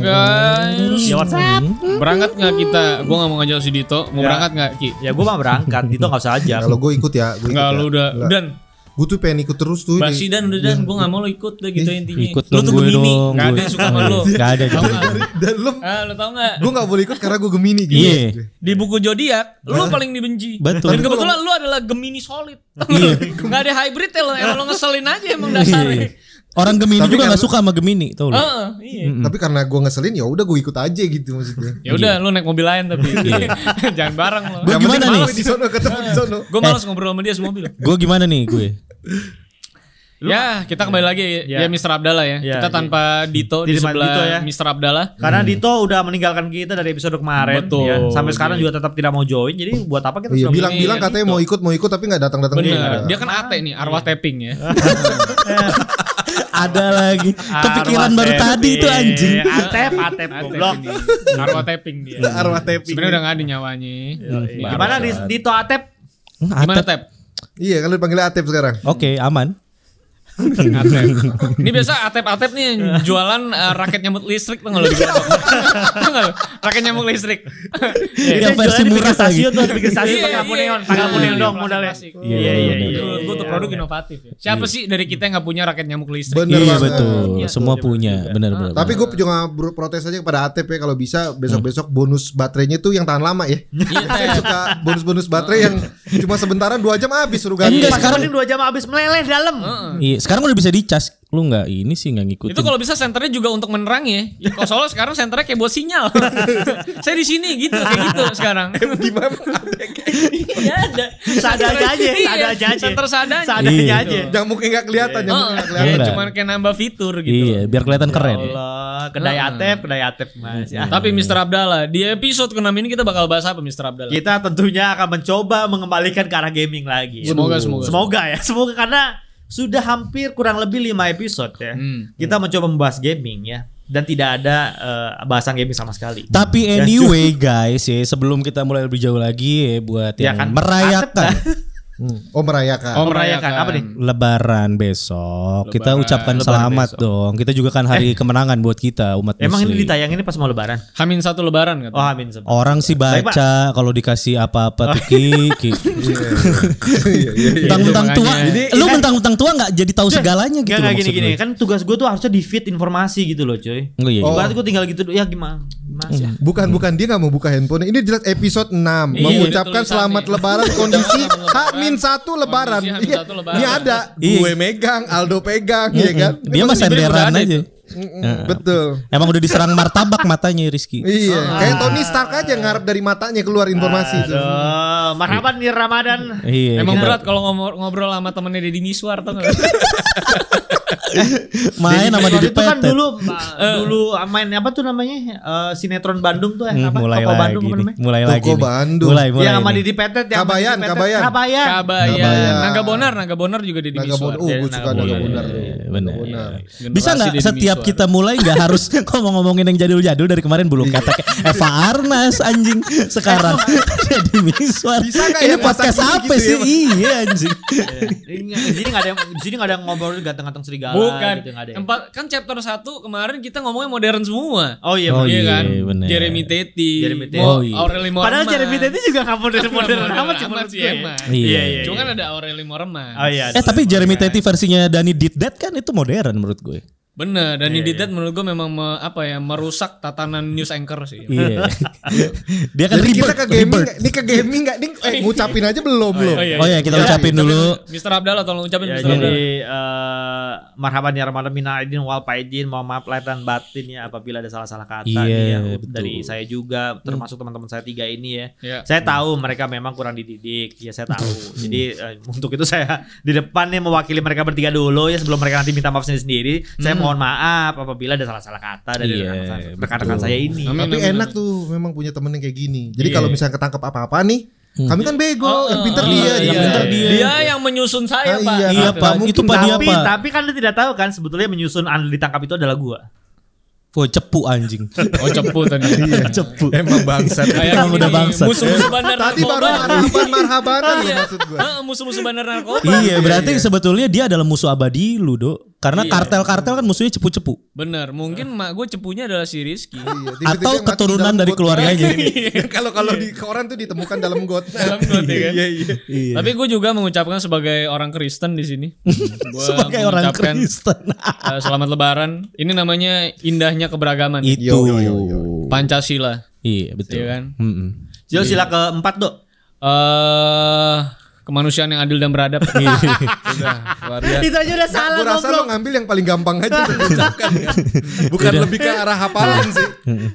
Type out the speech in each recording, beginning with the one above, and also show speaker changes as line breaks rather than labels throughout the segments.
guys.
Iya,
Lewat
Hmm.
Berangkat nggak kita? Gue nggak mau ngajak si Dito. Mau
Ya.
berangkat nggak Ki?
Ya gue mah berangkat, itu nggak usah aja.
Kalau gue ikut ya, gue ikut
Nggak
ya.
lu udah.
Nggak.
Dan
Gue tuh pengen ikut terus tuh.
basi
ini.
dan udah dan gue nggak mau lo ikut udah gitu intinya.
Ikut
lo
dong
tuh
gue
gemini.
dong,
Nggak ada
gue. Ya.
yang suka sama lo.
Gak ada
Tau
juga.
nggak?
Dan lu,
Ah, lo tau nggak?
gue nggak boleh ikut karena gue gemini gitu.
Iya.
Di buku zodiak, lo paling dibenci.
Betul.
Dan kebetulan lo adalah gemini solid. Nggak ada hybrid ya lo. Emang lo ngeselin aja emang dasarnya.
Orang Gemini
Tapi
juga
karena-
nggak suka sama Gemini, tau lu.
Heeh, iya.
Tapi karena gue ngeselin ya udah gue ikut aja gitu maksudnya.
Ya udah, lu naik mobil lain tapi jangan bareng Eh. lo.
Gua
Yang
gimana
penting
nih?
malam Di sono ketemu di sono.
Gue malas ngobrol sama dia semua mobil.
Gue gimana nih gue?
Ya, kita kembali lagi ya,
Ya.
Mr. Abdallah ya.
Ya,
kita
iya.
tanpa Dito di,
Di depan
sebelah
Dito ya.
Mr. Abdallah.
Karena Dito udah meninggalkan kita dari episode kemarin,
Betul.
ya. sampai sekarang juga tetap tidak mau join. Jadi buat apa kita
Iya
sudah
Iya,
bilang-bilang
gitu.
katanya mau ikut mau ikut tapi nggak datang datang
Bener. Dia kan ate nih, arwah tapping ya.
Ada lagi.
Ah,
Kepikiran baru
Arwah
tadi itu
Tepi.
anjing.
Eh, Atep, atep, goblok.
Tapping nih. Arwah tapping dia.
arwah tepi.
Sebenarnya udah gak ada nyawanya. Ini
Gimana
arwah
di,
tapping.
Dito Atep?
Hmm,
Gimana
atep.
tap?
Iya kan lu dipanggilnya Atep sekarang.
Oke, aman.
Atep. Ini biasa atep-atep nih yang jualan eh, raket nyamuk listrik tuh nggak lo di Glodok. Tau nggak lo? Raket nyamuk listrik.
Yang Iya, versi murah lagi.
stasiun tuh, di pinggir stasiun pakai
Iya,
lampu
iya.
neon, pakai lampu
Iya,
neon
iya.
dong modalnya.
Plastik.
Iya, iya, iya.
Menurut gue tuh produk inovatif ya. Siapa sih dari kita yang gak punya raket nyamuk listrik?
Bener
Iya
banget.
betul, semua punya, benar-benar.
Tapi gue juga ber- protes aja kepada Atep ya kalau bisa besok-besok bonus baterainya tuh yang tahan lama ya.
Iya.
Saya suka bonus-bonus baterai yang cuma sebentaran dua jam habis suruh ganti.
Enggak,
Pas
sekarang-
sekarang dua jam habis meleleh dalam.
Iya, sekarang udah bisa dicas. Lu nggak ini sih nggak ngikutin.
Itu kalau bisa senternya juga untuk menerangi ya. Kalau soalnya sekarang senternya kayak buat sinyal. Saya di sini gitu kayak gitu sekarang.
Gimana?
Iya ada.
Seadanya aja,
Iya,
seadanya aja.
Senter seadanya.
Seadanya
Iya.
aja.
Nyamuknya nggak kelihatan, nyamuknya nggak
Heeh,
kelihatan.
ya,
Beneran.
cuman kayak nambah fitur gitu.
Iya, biar kelihatan
Ya
keren.
Allah, kedai
Hmm.
Atep, kedai Atep Mas. Ya.
Tapi Mr. Abdallah, di episode ke-6 ini kita bakal bahas apa Mr. Abdallah?
Kita tentunya akan mencoba mengembalikan ke arah gaming lagi. ya.
Semoga semoga.
Semoga ya, semoga karena sudah hampir kurang lebih 5 episode ya.
Hmm.
Kita mencoba membahas gaming ya dan tidak ada eh, bahasan gaming sama sekali.
Tapi
Dan
anyway guys, ya sebelum kita mulai lebih jauh lagi ya buat
Ya
yang
kan,
merayakan
Atep
Oh merayakan.
Oh,
merayakan apa nih?
Lebaran besok, kita
Lebaran.
ucapkan
Lebaran
selamat
besok. Eh.
dong. Kita juga kan hari kemenangan buat kita umat
Emang ini
muslim.
ditayanginnya pas mau lebaran?
Hamin satu lebaran kata.
Oh, amin sebelum.
Orang sih baca kalau dikasih
Oh.
apa-apa tuh ki,
iya,
ki.
Iya, iya, kan- iya.
Mentang-mentang
Itu
tua,
makanya.
lu mentang-mentang tua nggak jadi tahu segalanya gitu.
Gak,
loh
Iya. gini
maksud
gini
gue.
kan tugas gue tuh harusnya di feed informasi gitu loh cuy.
Oh, iya, Hmm. iya.
Oh.
Ibarat gue tinggal gitu do- ya gimana? Gimana sih?
Bukan bukan dia nggak mau buka handphone. Ini jelas episode 6
Iya,
mengucapkan
ada tulisannya.
selamat lebaran kondisi
Selamat lebaran.
Hamin satu lebaran.
Kondisi H min
Iya,
satu lebaran.
Ini ada
Iya.
gue megang, Aldo pegang, ya kan?
Dia
sebenarnya
mah
udah
senderan
ada
aja.
itu.
Mm, Betul.
Emang udah diserang martabak matanya Rizky.
Ah.
Iya, kayak Tony Stark aja ngarep dari matanya keluar informasi.
Aduh, Eh, marhaban di Ramadan.
Iya.
Emang
kita-
berat kalau ngomor- ngobrol sama temennya Deddy Miswar tau gak?
main sama
Waktu
Didi
itu kan
Petet. Eh.
dulu dulu ah, main apa tuh namanya? Eh, sinetron Bandung tuh eh
Hmm,
apa?
mulai
Toko
lagi
Bandung apa
nih,
namanya?
mulai
Toko
lagi nih.
Bandung.
mulai mulai
yang sama
nih.
Didi Petet yang sama
Kabayan,
Didi Petet.
Kabayan.
Kabayan.
Kabayan. Naga Bonar, Naga Bonar juga Deddy
Naga
Miswar.
Bonar. Oh, gue
Iya,
suka
Naga
Naga
ya.
Iya,
Bonar.
iya,
Naga
benar.
Bonar.
Generasi
Bisa nggak
Deddy
setiap
Miswar.
kita mulai nggak harus kok mau ngomongin yang jadul-jadul dari kemarin belum
Iya.
kata kayak Eva Arnas anjing sekarang jadi miswar.
Bisa nggak
Ini
ya,
podcast
masa
apa
gitu
sih?
ya, Mas?
Iya anjing.
Ini- Di sini enggak ada yang di sini enggak ada yang ngobrol ganteng-ganteng serigala
Bukan.
gitu enggak ada. yang-
Empat kan chapter 1 kemarin kita ngomongnya modern semua.
Oh iya.
Oh,
bener.
iya
iya,
kan?
bener.
Jeremy Teti.
Jeremy Teti.
Mo- Iya,
Oh, iya.
Aureli Moreman.
Padahal Jeremy Teti juga enggak modern-modern amat sih menurut gue.
emang.
Iya.
iya.
Cuma kan ada Aureli Moreman.
Oh iya.
Eh tapi Jeremy Teti versinya Dani Did That kan itu modern menurut gue.
Bener, dan ini Didat menurut gue memang me- apa ya merusak tatanan news anchor sih.
Iya. Dia kan
Jadi kita
ribet.
ke gaming, nggak- ini ke gaming nggak? Ini eh, ngucapin aja belum
iya,
belum.
Oh ya kita ucapin dulu.
Mister Abdallah tolong ucapin
Ya,
Mister
jadi
Abdallah.
eh, marhaban ya Ramadan minal aidin wal faidin mohon maaf lahir dan batin ya apabila ada salah-salah kata
Iya,
nih ya,
betul.
dari saya juga termasuk teman-teman saya tiga ini Hmm. ya.
Iya.
Saya tahu mereka memang kurang dididik ya saya tahu. jadi eh, untuk itu saya di depan nih mewakili mereka bertiga dulu ya sebelum mereka nanti minta maaf sendiri-sendiri. Saya mohon maaf apabila ada salah-salah kata dari
Iya,
rekan-rekan-
betul.
rekan-rekan saya ini.
Amin.
Tapi enak tuh memang punya temen yang kayak gini. Jadi kalau misalnya ketangkep apa-apa nih, kami kan bego, yang pinter
Iya, Hmm. Oh,
dia,
iya,
yang
iya.
pinter
dia.
dia.
yang menyusun saya,
Ah,
Pak.
iya.
Iya
Nggak
pak,
mungkin.
itu pak dia
Tapi
pak.
tapi kan Anda tidak tahu kan sebetulnya menyusun Anda ditangkap itu adalah gua.
Wah cepu anjing.
Oh, cepu tadi.
cepu.
Iya. Emang bangsat.
Kayak
Emang
gini,
Iya. udah bangsat.
Musuh-musuh bandar
Tadi baru
narkoba.
marhaban marhabanan loh
Iya.
maksud gua. Iya,
Heeh, Musuh-musuh bandar narkoba.
iya berarti sebetulnya dia adalah musuh abadi lu dok. Karena
Iya.
kartel-kartel kan musuhnya cepu-cepu.
Bener, mungkin mak gue cepunya adalah si Rizky.
Iya, tiba-tiba
Atau
yang mati
keturunan
dalam
dari
got. ya.
keluarganya. gitu.
Iya, Kalau kalau di koran tuh ditemukan dalam got.
Dalam got, ya kan?
Iya iya.
Iya.
Tapi gue juga mengucapkan sebagai orang Kristen di sini. Gua
Sebagai orang
mengucapkan,
Kristen.
eh, selamat Lebaran. Ini namanya indahnya keberagaman.
Itu.
Pancasila, ya
Iya betul.
kan?
Mm-mm.
Jauh
Iya.
sila keempat dok.
Eh kemanusiaan yang adil dan beradab. Sudah, luar
Ya.
biasa.
Itu aja udah salah
Gue rasa lo
goblok.
ngambil yang paling gampang aja untuk diucapkan ya. Bukan lebih ke arah hafalan sih.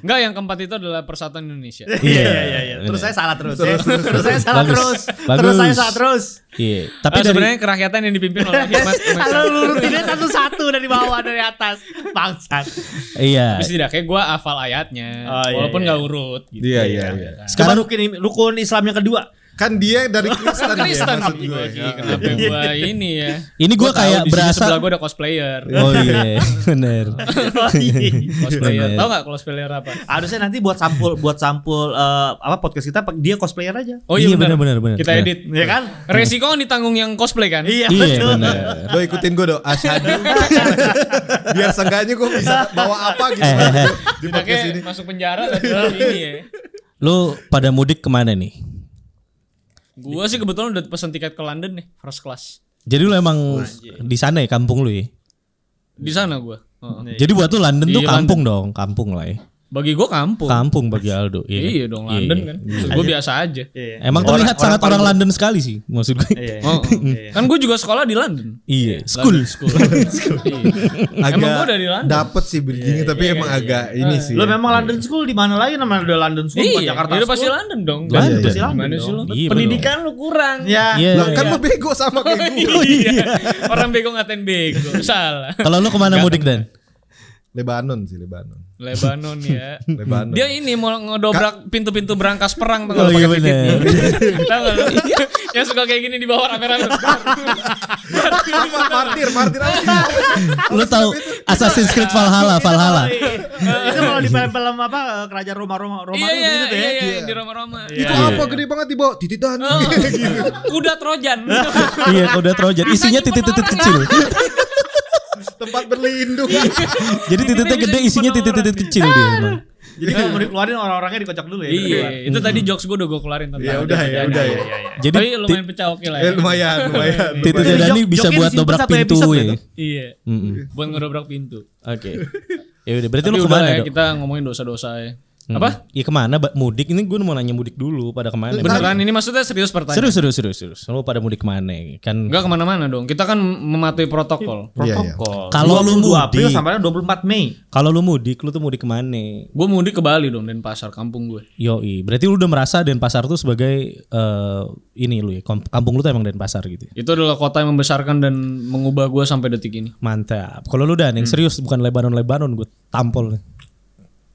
Enggak, yang keempat itu adalah persatuan Indonesia.
Eh,
Iya iya iya. iya. Terus saya salah terus. ya. Terus saya salah
Bagus.
terus.
Bagus.
Terus saya salah terus.
Iya.
Tapi
Tapi dari
Nah, Eh, sebenarnya kerakyatan yang dipimpin oleh hikmat.
Kalau lurutinnya satu-satu dari bawah dari atas. Bangsat.
iya.
Tapi setidaknya gue hafal ayatnya,
Oh, iya,
walaupun
iya.
nggak urut. Gitu.
Iya iya iya.
Nah,
Sekarang
Sekarang rukun, rukun Islam yang kedua.
Kan dia dari Kristen.
Kan Kristen iya.
maksud ya.
gua,
gue.
Ki.
Iya,
kenapa gue ini ya?
Ini gua
tahu di
kayak
sini
berasa-
sebelah gue ada cosplayer.
Oh iya, bener.
cosplayer,
Bener.
tau nggak cosplayer apa?
Harusnya nanti buat sampul buat sampul eh, apa podcast kita dia cosplayer aja.
Oh iya,
Iya,
benar
bener, bener,
Kita
bener.
edit.
Ya kan?
Resiko kan ditanggung yang cosplay kan?
Iya,
Iya
betul.
bener.
Lo ikutin gue dong Asyhadu Biar seenggaknya gue bisa bawa apa gitu
Eh, eh, eh.
Di podcast ini
Tidaknya masuk penjara tapi ini ya.
Lu pada mudik kemana nih?
Gue sih kebetulan udah pesen tiket ke London nih, first class.
Jadi lu emang di sana ya kampung lu ya?
Di sana gue.
Jadi buat lu London
Iya,
tuh kampung dong, kampung lah ya.
Bagi gue kampung.
Kampung bagi Aldo. Iya,
Iya dong London kan. Gue biasa aja.
Iya.
Emang terlihat sangat orang London sekali sih maksud gue.
Iya.
Oh, kan gue juga sekolah di London.
Iya, school.
London school. Iya. Emang gue dari London.
dapet sih bridgingnya tapi emang agak ini sih.
Lo
ya.
memang London School di mana lagi namanya udah London School bukan
Iya,
Jakarta
itu
School.
pasti London dong.
London.
Pasti London.
Iya,
sih lo.
bener.
Pendidikan lu kurang.
Ya.
Iya.
Lah kan
iya.
lo bego sama kayak gue.
Iya. Orang bego ngatain bego. Salah.
Kalau lu kemana mudik Dan?
Lebanon sih Lebanon.
Lebanon ya.
Lebanon.
Dia ini mau ngedobrak pintu-pintu berangkas perang tau
Oh,
gak
iya
pakai titiknya.
bener.
Tau gak lu? Iya. Yang suka kayak gini di bawah rame-rame.
Apa martir, martir aja.
Lu tahu Assassin's Creed Valhalla, Valhalla.
itu kalau di film-film apa eh, kerajaan Roma-Roma Roma
Iya iya
gitu tuh ya.
iya iya, di Roma-Roma.
Itu apa gede banget di bawah Gitu. titik dan.
Oh, kuda Trojan.
Iya, kuda Trojan. Isinya
Katanya
titik-titik
orang
kecil.
Tempat berlindung.
Iya.
Jadi titiknya gede, isinya titik-titik kecil dia. emang.
Jadi kalau mau dikeluarin orang-orangnya dikocok dulu ya.
Iya, itu tadi jokes gue udah gue keluarin tentang. Iya,
Ya udah ya udah ya.
Jadi
Tapi
ti- iya,
lumayan pecah oke lah.
Eh
ya.
lumayan, lumayan.
titiknya
lumayan.
Jadi
Dani
jok-
bisa
joknya
buat
disimpan
dobrak
sampai
pintu
episode
ya.
itu.
Iya.
Mm-mm.
Buat ngedobrak pintu.
Oke. Ya udah, berarti
Tapi
lu
udah
kemana
lah ya
dok?
kita ngomongin dosa-dosa ya.
Hmm.
Apa?
Ya kemana? Ba- Mudik ini gue mau nanya mudik dulu pada kemana?
Beneran ini maksudnya serius pertanyaan.
Serius, serius, serius, serius. Lu pada mudik kemana? Kan
Enggak kemana-mana dong. Kita kan mematuhi protokol.
Iya, iya.
Protokol.
Kalau lu
22 April
mudik.
sampai 24 Mei.
kalau lu mudik, lu tuh mudik kemana?
Gue mudik ke Bali dong dan pasar kampung gue.
Yoi, berarti lu udah merasa Denpasar tuh sebagai eh, ini lu ya, kom- kampung lu tuh emang Denpasar gitu. ya.
Itu adalah kota yang membesarkan dan mengubah gue sampai detik ini.
Mantap. Kalau lu udah
Hmm.
yang serius bukan Lebanon-Lebanon gue tampol.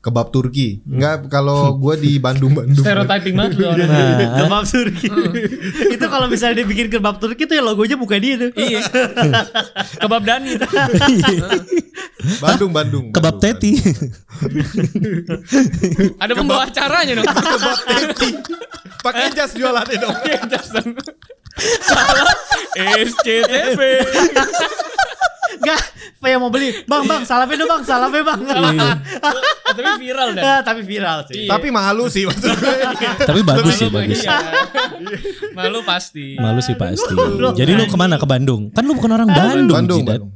Kebab Turki.
Hmm.
Enggak kalau gue di Bandung Bandung.
Stereotyping banget lu orang.
Kebab Turki. itu kalau misalnya dibikin kebab Turki tuh ya logonya buka dia tuh.
Iya. Kebab Dani.
Bandung Bandung.
Kebab
Bandung.
teti.
Ada pembawa acaranya dong.
Kebab teti. Pakai jas jualannya dong.
Iya, Justin. Salah SCTV.
Enggak, apa yang mau beli? Bang, bang, salamnya dong bang, salamnya bang.
Ah, Tapi viral dan.
Ah, Tapi viral sih.
Tapi malu sih maksud gue.
Tapi bagus sih, bagus.
Iya. Malu pasti.
Malu sih
Iya,
pasti. Jadi lu kemana ke Bandung? Kan lu bukan orang Bandung,
Bandung
Jidat.
Bandung.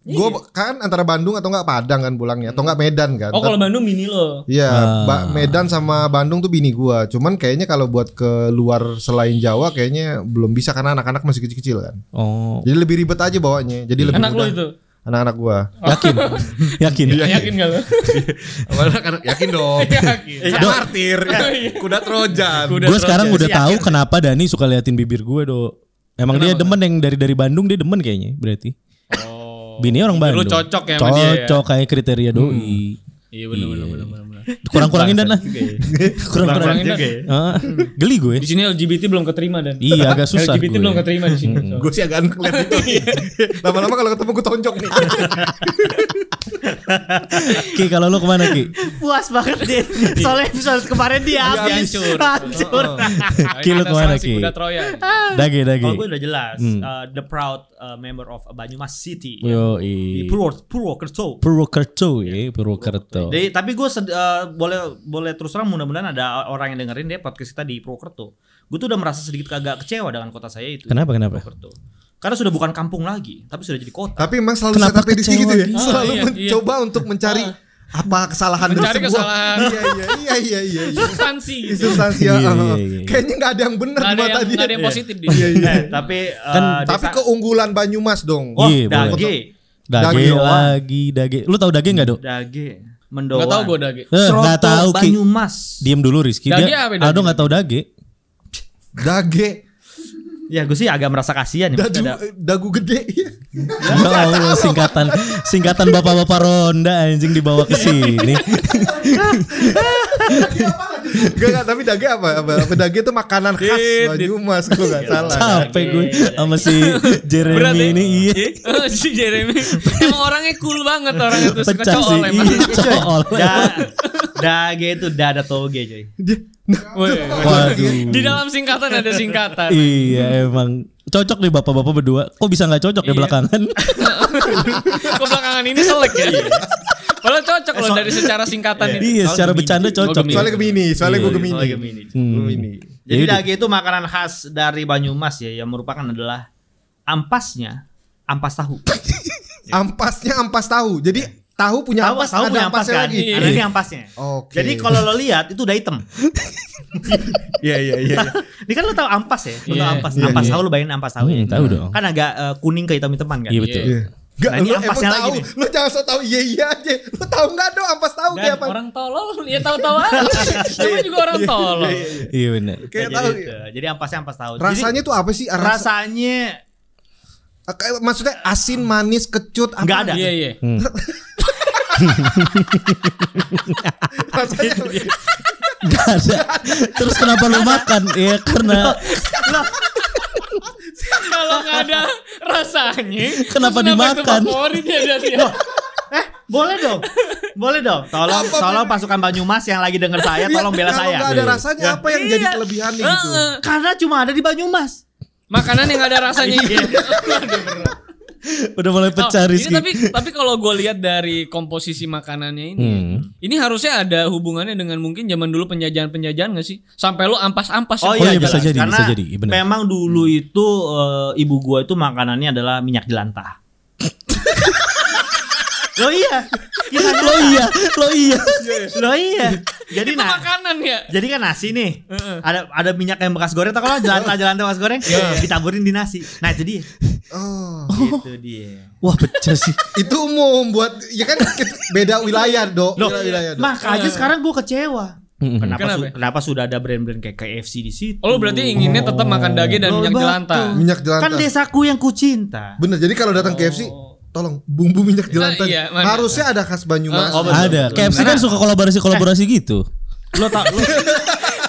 Gue
Iya.
kan antara Bandung atau enggak Padang kan pulangnya atau enggak Medan kan.
Oh kalau Nah. Bandung mini lo.
Iya, Ba- Medan sama Bandung tuh bini gua. Cuman kayaknya kalau buat ke luar selain Jawa kayaknya belum bisa karena anak-anak masih kecil-kecil kan.
Oh,
Jadi lebih ribet aja bawanya. Jadi lebih
Anak lo
mudah.
itu.
Anak-anak gua.
yakin. yakin.
Yakin gak lo?
Anak-anak yakin dong.
Iya.
Yakin.
Kan martir, kuda Trojan.
Iya. Kuda
Gue sekarang udah tahu kenapa Dani suka liatin bibir gue, Dok. Emang dia demen yang dari dari Bandung dia demen kayaknya berarti.
Oh.
Bini orang
Bibir
Bandung.
lu cocok ya sama dia ya? Hmm.
Cocok kayak kriteria doi.
Iya benar benar benar benar.
Kurang-kurangin dan lah.
ya.
Kurang-kurangin.
Kurangin
juga ya.
Ah, geli gue.
Di sini LGBT belum keterima dan.
Iya agak susah
LGBT
gue. Hmm,
belum keterima di sini. Iya.
Gue sih agak ngeliat itu. Lama-lama kalau ketemu gue tonjok nih.
Ki kalau lu kemana Ki?
Puas banget deh. Soalnya episode kemarin dia
Dia
habis.
hancur.
Hancur.
Ki, lu
Ada
kemana,
sanksi
Ki?
Kuda Troya.
Dagi dagi.
Kalau gue udah jelas,
Iya. Hmm. Iya.
uh, the proud uh, member of Banyumas City.
Yo
Di
i.
Purwo- Purwokerto.
Purwokerto ya, Purwokerto.
Jadi, tapi gue sed- eh, boleh boleh terus terang mudah-mudahan ada orang yang dengerin deh podcast kita di Purwokerto. Gue tuh udah merasa sedikit agak kecewa dengan kota saya itu.
Kenapa kenapa?
Purwokerto. Karena sudah bukan kampung lagi, tapi sudah jadi kota.
Tapi emang selalu
Kenapa
setupnya di sini
kecewa
gitu ya.
gitu?
Ah,
Selalu
iya, iya.
mencoba untuk mencari apa kesalahan dari
Mencari
sebuah-
kesalahan.
Iya iya iya iya iya. iya.
Substansi. gitu.
Substansi ya.
Iya, iya,
oh.
iya.
Kayaknya nggak ada yang benar
Nggak
di
ada
mata
yang
dia.
nggak ada yang positif di.
Iya iya.
Eh, tapi eh,
Kan-
desa-
Tapi keunggulan Banyumas dong.
Wah,
Iya, boleh.
dage,
Dagi
Dagi doang.
lagi dagi. Lu tahu dagi enggak, Dok?
dage, mendoan.
Enggak tahu gue dage.
Eh, nggak
Seroto,
tahu, Ki.
Banyumas.
Diem dulu Rizky.
Dagi
Dia
apa, Dagi?
Aldo enggak tahu dagi.
Dage,
Ya gue sih agak merasa kasihan ya.
dagu,
maksudnya ada-
dagu gede.
Ya Allah, singkatan singkatan bapak-bapak ronda anjing dibawa ke sini.
Gak gak, tapi dage apa? Apa, apa dage itu makanan khas
Dit, dit.
Banyumas kalau nggak
Iya.
salah.
Capek gue sama si
Berarti
Jeremy ini iya.
Eh, si Jeremy emang orangnya cool banget orangnya tuh suka
Pecah sih.
cool emang.
Iya, cool.
Da- Ah, dage itu dada toge coy.
Dia, nah,
Woi,
Waduh.
Di dalam singkatan ada singkatan.
Iya emang cocok nih bapak-bapak berdua. Kok bisa nggak cocok ya
Iya.
belakangan?
Kok belakangan ini selek ya? Padahal cocok loh dari secara singkatan ini.
iya secara bercanda cocok.
Gemini.
soalnya gemini, soalnya
Iya,
gue
iya,
gemini.
soalnya Gemini.
Hmm.
Gemini.
Jadi
Yaudah.
dage itu makanan khas dari Banyumas ya yang merupakan adalah ampasnya ampas tahu.
Ampasnya ampas tahu. Jadi tahu punya
tahu
ampas, Iya.
tahu
ada
punya ampas
ampasnya
kan.
lagi.
Ada ini ampasnya.
Oke.
Jadi kalau lo lihat itu udah hitam.
Iya iya iya.
Ini kan lo tahu ampas ya, lo
Iya,
tahu ampas.
iya,
ampas
iya.
tahu lo bayangin ampas tahu
Hmm,
ya.
tahu dong.
Kan agak eh, kuning ke hitam-hitaman kan.
Iya betul.
Iya.
Gak,
Nah, ini
lu emang
ampasnya lagi
tahu,
nih.
lu jangan so tau iya iya aja. Lu tahu nggak dong ampas tahu
Dan
kayak apa?
Orang tolol ya tahu-tahu aja. Namanya juga orang tolol.
Iya benar.
Nah,
Kayak
jadi,
tahu.
itu. jadi ampasnya ampas tahu. Jadi
Rasanya tuh apa sih? Rasa,
rasanya
kayak- maksudnya asin, manis, kecut, apa?
Nggak ada.
Iya iya.
Iya,
Rasanya
Gak ada. Terus kenapa lu makan? Ya karena
Kalau nggak ada rasanya,
Kenapa
terus
dimakan?
itu Favorit ya dia dia.
eh boleh dong. Boleh dong. Tolong
Apa Iya,
tolong pasukan Banyumas yang lagi denger saya tolong bela
Kalau
saya.
nggak ada rasanya apa yang jadi
Iya.
kelebihan nih gitu?
Heeh.
Karena cuma ada di Banyumas.
Makanan yang nggak ada rasanya itu.
udah mulai Iya. pecah
Oh, ini
Rizky.
tapi tapi kalau gue lihat dari komposisi makanannya ini,
Hmm.
ini harusnya ada hubungannya dengan mungkin zaman dulu penjajahan-penjajahan gak sih? Sampai lu ampas-ampas.
Oh, iya, bisa
jelas.
jadi,
Karena
bisa jadi, iya, benar.
memang dulu itu eh, ibu gua itu makanannya adalah minyak jelantah. Loh iya. Kisah
Lo
nyata.
iya, lo iya.
Loh iya.
Itu
Jadi nah,
makanan ya.
jadi kan nasi nih. Ada ada minyak yang bekas goreng kan atau kalau jelantah-jelantah bekas goreng ditaburin di nasi. Nah, itu dia.
Oh.
Itu dia.
Wah pecah sih.
Itu umum buat ya kan kita- beda wilayah, Dok.
Loh,
Beda wilayah, Dok.
makanya iya. sekarang gue kecewa.
Mm-mm.
Kenapa,
Kenapa?
su- kenapa sudah ada brand-brand kayak KFC di situ?
Oh, lu berarti inginnya tetap makan dage dan
Loh,
minyak
betul.
jelantah.
Minyak jelantah.
Kan desaku yang kucinta.
Bener. Jadi kalau datang KFC, tolong bumbu minyak jelantah.
iya, mana?
Harusnya ada khas Banyumas.
Oh, betul.
Ada. KFC kan suka kolaborasi-kolaborasi gitu.
Lo tau lo,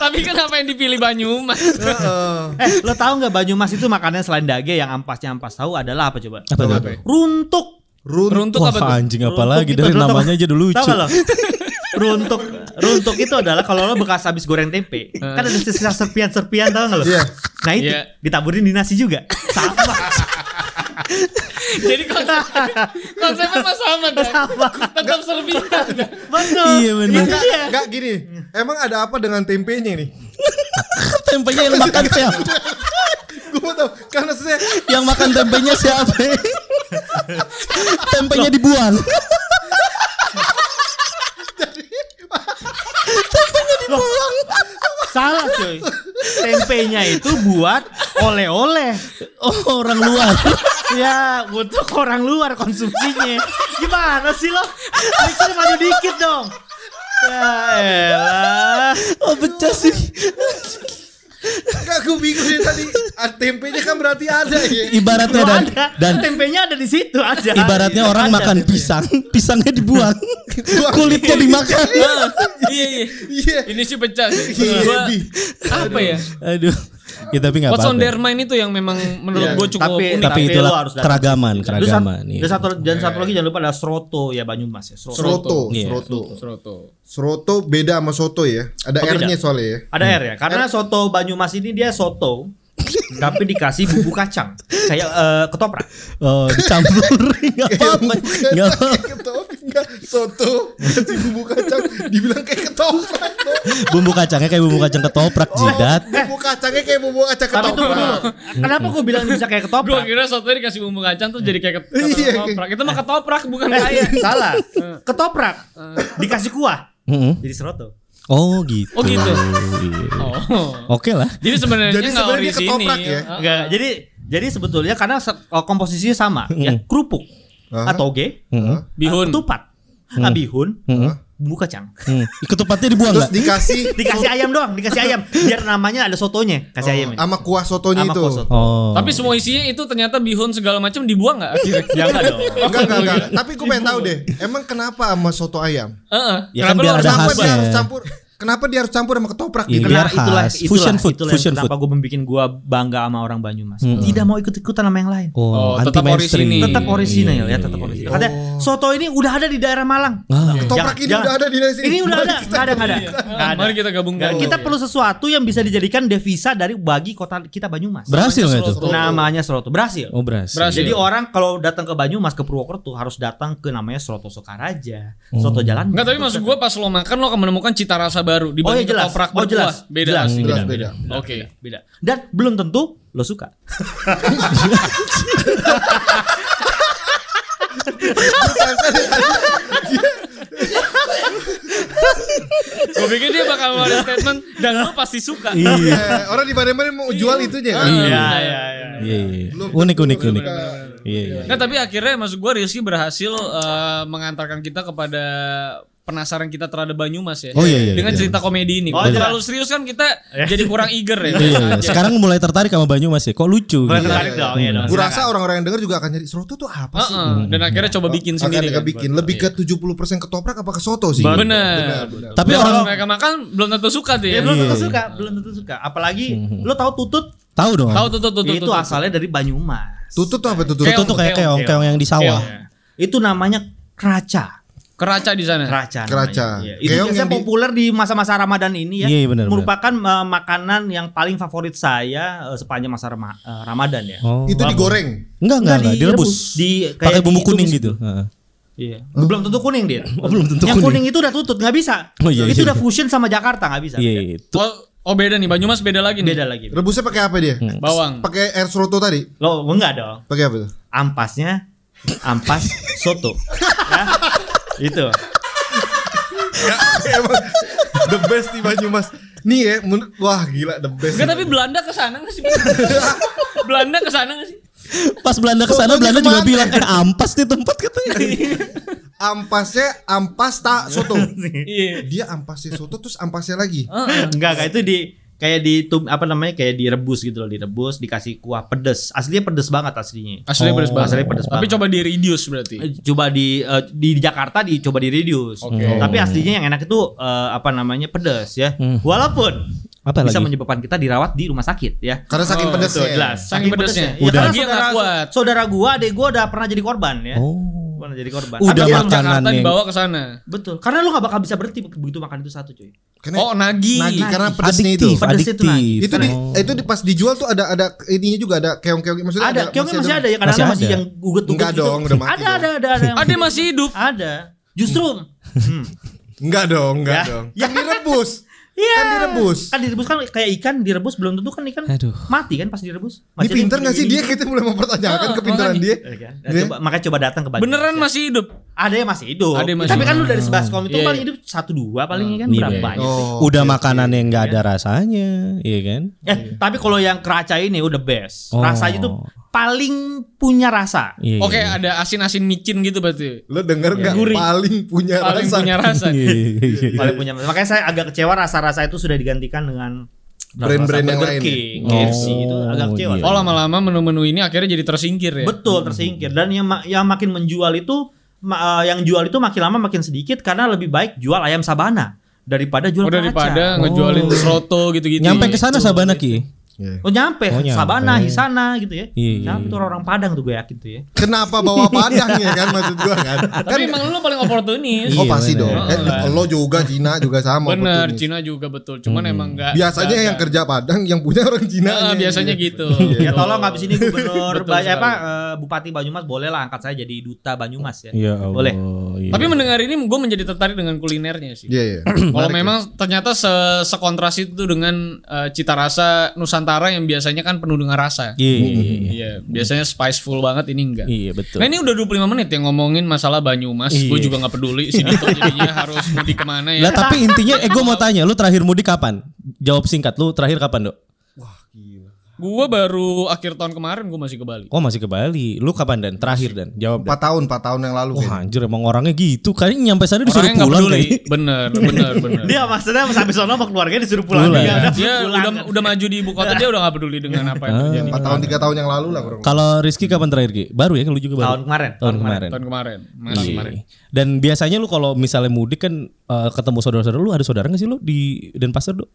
Tapi kenapa yang dipilih Banyumas?
Heeh.
eh, lo tau nggak Banyumas itu makannya selain dage yang ampasnya ampas tahu adalah apa coba?
Apa
Apa?
tuh?
Runtuk.
Run
Runtuk
Wah
apa tuh?
anjing apalagi
Runtuk
dari
itu, lo tau-
namanya aja udah
Tau
lucu.
nggak lo? runtuk runtuk itu adalah kalau lo bekas habis goreng tempe kan ada sisa serpian-serpian tau nggak lo?
Iya.
Nah itu
Iya.
ditaburin di nasi juga sama.
Jadi konsep konsepnya mah sama dah. Tetap serpihan. dah.
Betul.
Iya, bener.
Itu dia.
Enggak gini. Emang ada apa dengan tempenya nih?
Tempenya yang makan siapa?
Gue mau tahu karena saya
Yang makan tempenya siapa? tempenya dibuang.
Salah cuy. Tempenya itu buat oleh-oleh.
Oh, orang luar.
Ya untuk orang luar konsumsinya. Gimana sih lo? Mikir madu dikit dong. Ya elah.
Oh, pecah sih.
enggak gue bingung dari tadi. Ah, Tempenya kan berarti ada ya.
Ibaratnya
Lo
dan
ada.
dan
tempenya ada di situ aja.
ibaratnya orang
Ada
makan
tempenya.
pisang, pisangnya dibuang. Kulitnya dimakan.
Nah, Iya iya.
Iya.
Ini sih pecah sih.
Iya,
Gua-
Bi.
apa ya?
Aduh. Ya tapi nggak
What's on
apa-apa.
their mind itu yang memang menurut
Iya,
gue cukup
tapi-
unik.
Tapi
Tapi
itulah
lu harus datang.
keragaman,
Terus sat-
keragaman. iya.
Dan satu dan satu lagi jangan lupa ada Sroto ya Banyumas ya. Sroto.
Sroto,
Iya.
Sroto.
Seroto.
Sroto beda sama soto ya. Ada
Oh, beda.
R-nya soalnya ya.
Ada R ya. Karena soto Banyumas ini dia soto tapi dikasih bumbu kacang kayak eh, ketoprak.
Oh, dicampur nggak apa-apa. Nggak apa
Ketoprak, enggak. soto kasih bumbu kacang dibilang kayak ketoprak dong.
Bumbu kacangnya kayak bumbu kacang ketoprak
Oh.
jidat.
bumbu kacangnya kayak bumbu kacang
Tapi tunggu dulu.
ketoprak
Kenapa gue bilang bisa kayak
Gue
ketoprak?
kira soto dikasih bumbu kacang terus jadi kayak ket-
Iya, kayak-
ketoprak. Itu mah ketoprak bukan
Eh,
kayak.
salah. Ketoprak dikasih kuah
Mm-mm.
jadi Sroto.
Oh gitu.
Oh, gitu.
Iya.
Oh.
Oke lah.
Jadi sebenarnya
Jadi
nggak
sebenarnya
ori
dia
sini.
ketoprak ya?
Heeh.
Enggak, jadi jadi sebetulnya karena se- oh, komposisinya sama
Hmm.
ya, kerupuk
Ah.
Aha.
atau ge,
Mm-mm.
Bihun.
tupat,
Hmm.
ah, bihun,
Mm-mm.
bumbu kacang.
Mm. Ketupatnya dibuang
terus
nggak?
dikasih
Dikasih ayam doang, dikasih ayam biar namanya ada sotonya, kasih ayam.
sama kuah sotonya
Sama
itu.
kuah soto.
Oh.
Tapi semua isinya itu ternyata bihun segala macam dibuang nggak akhirnya?
Jangan dong.
Enggak enggak enggak. Tapi gue pengen tahu deh, emang kenapa sama soto ayam?
Heeh.
Ya
Kenapa
kan
lu
biar
harus
ada
nambah?
Kenapa dia
khasnya.
harus campur? Kenapa dia harus campur sama ketoprak
Iya.
gitu?
biar
Karena itulah,
khas.
itulah,
Fusion food, Hmm.
itulah
fusion
kenapa gue bikin gue bangga sama orang Banyumas. Tidak mau ikut-ikutan sama yang lain.
Oh, Iya,
Oh, tetap
anti-mainstream.
orisinil.
Tetap orisinal ya, tetap orisinal. Katanya soto ini udah ada di daerah Malang.
Oh. Ah.
Ketoprak
Jangan-
ini udah
jangan.
ada di sini.
Ini udah
Mari
ada,
kita-
nggak ada, nggak ada. Nggak ada.
Mari kita gabungkan.
Nggak, kita perlu sesuatu yang bisa dijadikan devisa dari bagi kota kita Banyumas.
Berhasil nggak itu?
Sroto.
Namanya Sroto berhasil.
Oh berhasil.
Berhasil.
Jadi orang kalau datang ke Banyumas ke Purwokerto harus datang ke namanya Sroto Sokaraja, Sroto Jalan.
Enggak tapi maksud gue pas lo makan lo akan menemukan cita rasa baru di
Oh iya jelas.
ketoprak
Oh jelas.
berkuah. Beda
Jelas.
asli.
Jelas beda.
Oke.
beda. Dan belum tentu lo suka.
Gue pikir dia bakal ada statement dan lo pasti suka.
Iya.
Eh, orang di mana-mana mau jual itunya kan.
Iya.
Iya. iya. Unik unik unik. Iya. iya.
Nah, tapi akhirnya maksud gue Rizky berhasil eh, mengantarkan kita kepada penasaran kita terhadap Banyumas ya.
Oh, iya, iya,
Dengan
iya.
cerita komedi ini.
Oh,
Kalau
iya.
terlalu serius kan kita jadi kurang eager ya.
Iya, iya. Sekarang mulai tertarik sama Banyu Mas ya. Kok lucu?
Boleh
gitu.
tertarik dong ya dong.
Gue rasa orang-orang yang denger juga akan nyari Sroto tuh apa sih?
Heeh, dan akhirnya coba bikin
Iya. Akan
sendiri.
mereka
kan.
bikin lebih ke 70% ketoprak apa ke soto sih?
Benar.
benar.
Tapi
Tapi
orang
orang mereka makan belum tentu suka tuh ya.
Ya, belum tentu
Iya.
suka, belum tentu suka. Apalagi lo tahu tutut,
tahu dong.
Tahu tuh tuh tuh tuh.
itu
tuh.
asalnya dari Banyumas.
Tutut tuh apa tutut?
Keong.
Itu tuh kayak
keong,
keong keong yang di sawah.
Keong.
Itu namanya keraca.
Iya. keraca di sana.
Keraca. namanya.
Keraca.
Iya. Itu
Keong
biasanya
yang di-
populer di masa-masa Ramadan ini ya.
Iya, iya, benar,
merupakan eh, makanan yang paling favorit saya eh, sepanjang masa Rama- eh, Ramadan ya.
Oh.
Itu digoreng.
Enggak enggak enggak direbus.
Di
Pakai
kayak
bumbu
dihitung
kuning
sih.
gitu. Heeh.
Iya. Belum tentu kuning dia.
Oh, belum tentu
yang
kuning.
kuning. itu udah tutut nggak bisa.
Oh, iya,
itu
iya.
udah fusion sama Jakarta nggak bisa.
Iya. itu.
Oh, oh beda nih Banyumas beda lagi nih.
Beda lagi.
Rebusnya pakai apa dia?
Bawang.
Pakai air Sroto tadi?
Lo enggak dong.
Pakai apa tuh?
Ampasnya ampas soto. Ya. Itu.
Ya, Emang the best di Banyumas. Nih ya, menurut- wah gila the best. ya.
Enggak tapi Belanda ke sana enggak sih? Belanda ke sana enggak sih?
Pas Belanda ke sana
Sotonya
Belanda juga
kemana?
bilang eh ampas di tempat katanya.
ampasnya ampas tak soto.
Iya.
Dia ampasnya soto terus ampasnya lagi.
Enggak, enggak itu di kayak di tum- apa namanya kayak direbus gitu loh direbus dikasih kuah pedes aslinya pedes banget aslinya
Aslinya pedes banget.
aslinya pedes
Tapi
banget.
coba di reduce berarti.
Eh, coba di eh, di Jakarta dicoba di reduce
Oke.
Hmm.
tapi aslinya yang enak itu eh, apa namanya pedes ya walaupun
Apa
bisa
lagi?
menyebabkan kita dirawat di rumah sakit ya
Karena saking
Oh,
pedesnya.
Tuh, jelas.
Saking pedesnya.
Ya,
Udah.
karena
Dia nggak
saudara,
kuat.
saudara gua, adek gua udah pernah jadi korban ya.
Oh.
Pernah jadi korban.
Udah
Tapi-
Orang Jakarta
makanan yang
dibawa ke sana.
betul. Karena lu gak bakal bisa berhenti begitu makan itu satu, cuy.
Karena
Oh, nagi.
nagi kan. karena pedesnya itu.
adiktif,
Pedes itu
adiktif. Oh.
lagi.
Itu di, itu di, pas dijual tuh ada ada ininya juga ada keong-keong maksudnya
Ada, keongnya masih ada ya karena
Masih
masih, masih
ada.
yang guget-guget
Enggak dong, udah mati
Ada,
dong.
ada, ada, ada. yang-
Ada yang masih hidup.
ada. Justru hmm.
Enggak dong, enggak
Ya.
dong.
Ya.
Kan direbus.
Iya.
Kan direbus.
Kan direbus kan kayak ikan direbus belum tentu kan ikan
Aduh.
mati kan pas direbus.
Ini
Masih ada
pinter
yang
gak sih
gini-gini.
dia kita mulai mempertanyakan
Ah,
kepintaran
makanya.
dia.
Ya kan? Nah,
Dia-
coba, makanya coba datang ke Bandung.
Beneran masih hidup.
ada yang masih hidup.
Ada yang masih
Tapi kan
hidup.
lu dari sebaskom itu
Iya,
paling
iya.
hidup satu dua paling kan
Iya,
berapa
iya.
banyak sih.
Oh,
Udah
oke,
makanan yang enggak ada rasanya, iya kan?
Eh, tapi kalau yang keraca ini udah best.
Oh.
Rasanya tuh paling punya rasa.
Iya.
Oke,
iya.
ada asin-asin micin gitu berarti.
Lo denger nggak?
Gurih.
Paling punya
Paling
rasa.
punya rasa.
Iya, iya, iya.
Paling punya. Makanya saya agak kecewa rasa-rasa itu sudah digantikan dengan
Brand-brand yang
Burger
lain ya?
King,
Oh,
KFC itu agak kecewa.
iya.
Oh, lama-lama menu-menu ini akhirnya jadi tersingkir ya.
Betul tersingkir dan yang ma- yang makin menjual itu ma- eh, yang jual itu makin lama makin sedikit karena lebih baik jual ayam sabana daripada
Oh,
jual keraca.
daripada ngejualin
Oh.
Sroto gitu-gitu. Iya.
Nyampe ke sana Sabana Ki.
Iya.
Oh nyampe,
Oh, nyampe.
Sabana, Hisana gitu ya.
Iya, iya,
Nyampe tuh orang-orang Padang tuh gue yakin tuh ya.
Kenapa bawa padang ya kan maksud gua kan? kan
Tapi emang lu paling oportunis.
oh
Iya,
pasti
bener.
dong. Eh, lo juga Cina juga sama.
Bener,
oportunis.
Cina juga betul. Cuman
Hmm.
emang enggak
Biasanya yang kerja padang yang punya orang Cina. Iya,
Nah, biasanya gitu.
Ya tolong habis ini gubernur
Betul
Ba- apa
sekali.
eh, Bupati Banyumas boleh lah angkat saya jadi duta Banyumas ya.
Ya Allah.
Boleh.
iya.
Tapi mendengar ini gue menjadi tertarik dengan kulinernya sih.
Iya iya.
Kalau memang ternyata se sekontras itu dengan eh, cita rasa Nusantara yang biasanya kan penuh dengan rasa.
Iya, iya, iya.
Iya, biasanya spiceful banget ini enggak.
Iya, betul.
Nah ini udah 25 menit yang ngomongin masalah Banyumas. Gue
Iya.
juga nggak peduli si Dito jadinya harus mudik kemana ya.
Lah tapi intinya eh gue mau tanya lu terakhir mudik kapan? Jawab singkat lu terakhir kapan, Dok?
Gue baru akhir tahun kemarin gue masih ke Bali.
Oh masih ke Bali. Lu kapan dan? Terakhir dan? Jawab dan.
Empat tahun, empat tahun yang lalu.
Wah
kayaknya.
anjir emang orangnya gitu. Kayaknya nyampe sana disuruh
Iya. Orangnya nggak
pulang
peduli.
kayaknya.
Bener, bener, bener.
Dia maksudnya sampai sono sama keluarganya disuruh pulang. Iya.
Pulang.
Dia udah
dia
pulang. Iya.
udah udah maju di ibu kota dia udah nggak peduli dengan apa
Ah.
yang terjadi
Empat tahun, tiga tahun yang lalu lah kurang.
Kalau Rizky kapan terakhir, Ki? Baru ya lu juga baru.
Tahun kemarin.
Tahun kemarin.
tahun kemarin. Mas,
Iya.
kemarin.
Dan biasanya lu kalau misalnya mudik kan eh, ketemu saudara-saudara lu ada saudara nggak sih lu di Denpasar, Dok?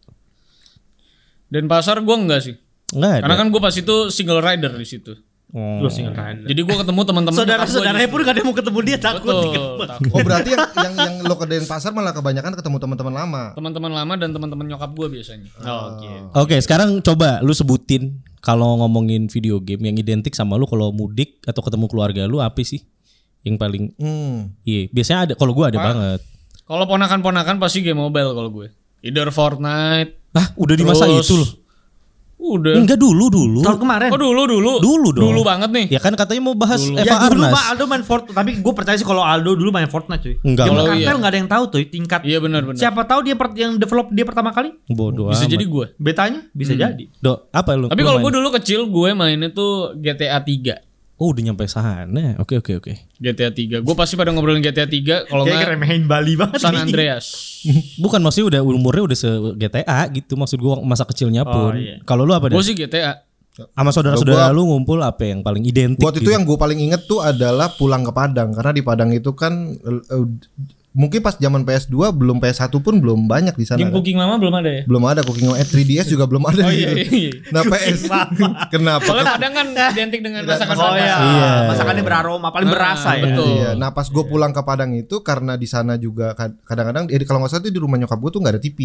Dan pasar gue enggak sih.
Enggak ada.
Karena kan gue pas itu single rider di situ.
Oh.
Jadi gue ketemu teman-teman
Saudara-saudaranya pun gak ada yang mau ketemu dia takut
Betul,
dikebak.
takut.
Oh berarti yang yang, yang lo ke Denpasar malah kebanyakan ketemu teman-teman lama.
teman-teman lama dan teman-teman nyokap gue biasanya.
Oh,
Oke.
Oke, sekarang coba lu sebutin kalau ngomongin video game yang identik sama lu kalau mudik atau ketemu keluarga lu apa sih? Yang paling
Hmm.
iya, biasanya ada kalau gua ada banget.
Kalau ponakan-ponakan pasti game mobile kalau gue. Either Fortnite.
Hah, udah di masa
terus-
itu loh.
Udah.
Enggak dulu dulu.
Tahun kemarin.
Oh dulu dulu.
Dulu dong.
Dulu banget nih.
Ya kan katanya mau bahas Eva
Ya dulu
Arnas.
mah Aldo main Fortnite, tapi gue percaya sih kalau Aldo dulu main Fortnite cuy.
Enggak.
Game
Kalau
kartel
iya.
nggak ada yang tahu tuh tingkat.
Iya benar-benar.
Siapa tahu dia per- yang develop dia pertama kali?
Bodoh
Bisa
amat.
jadi gue.
Betanya bisa
Hmm.
jadi.
Dok, apa lu?
Tapi kalau gue dulu kecil gue mainnya tuh GTA 3.
Oh, udah nyampe sana. Oke, oke, oke.
GTA 3. Gue pasti pada ngobrolin GTA 3 kalau
Kayak
enggak
ngeremehin Bali banget.
San
nih.
Andreas.
Bukan maksudnya udah umurnya udah se GTA gitu maksud gua masa kecilnya
Oh,
pun.
iya.
Kalau lu apa
Gue
deh?
sih GTA.
Sama saudara-saudara lu ngumpul apa yang paling identik? gitu?
Buat itu yang gue paling inget tuh adalah pulang ke Padang karena di Padang itu kan eh, eh, mungkin pas zaman PS2 belum PS1 pun belum banyak di sana.
Game
kan.
cooking mama belum ada ya?
Belum ada cooking eh, 3DS juga belum ada.
Oh iya iya. iya.
Nah PS kenapa?
Soalnya kadang kan identik dengan masakan
Oh
Padang.
iya.
Iya.
Masakannya beraroma, paling
Ah,
berasa ya.
betul.
Iya, nah pas gue pulang ke Padang itu karena di sana juga kad- kadang-kadang jadi kalau nggak salah tuh di rumah nyokap gue tuh nggak ada TV,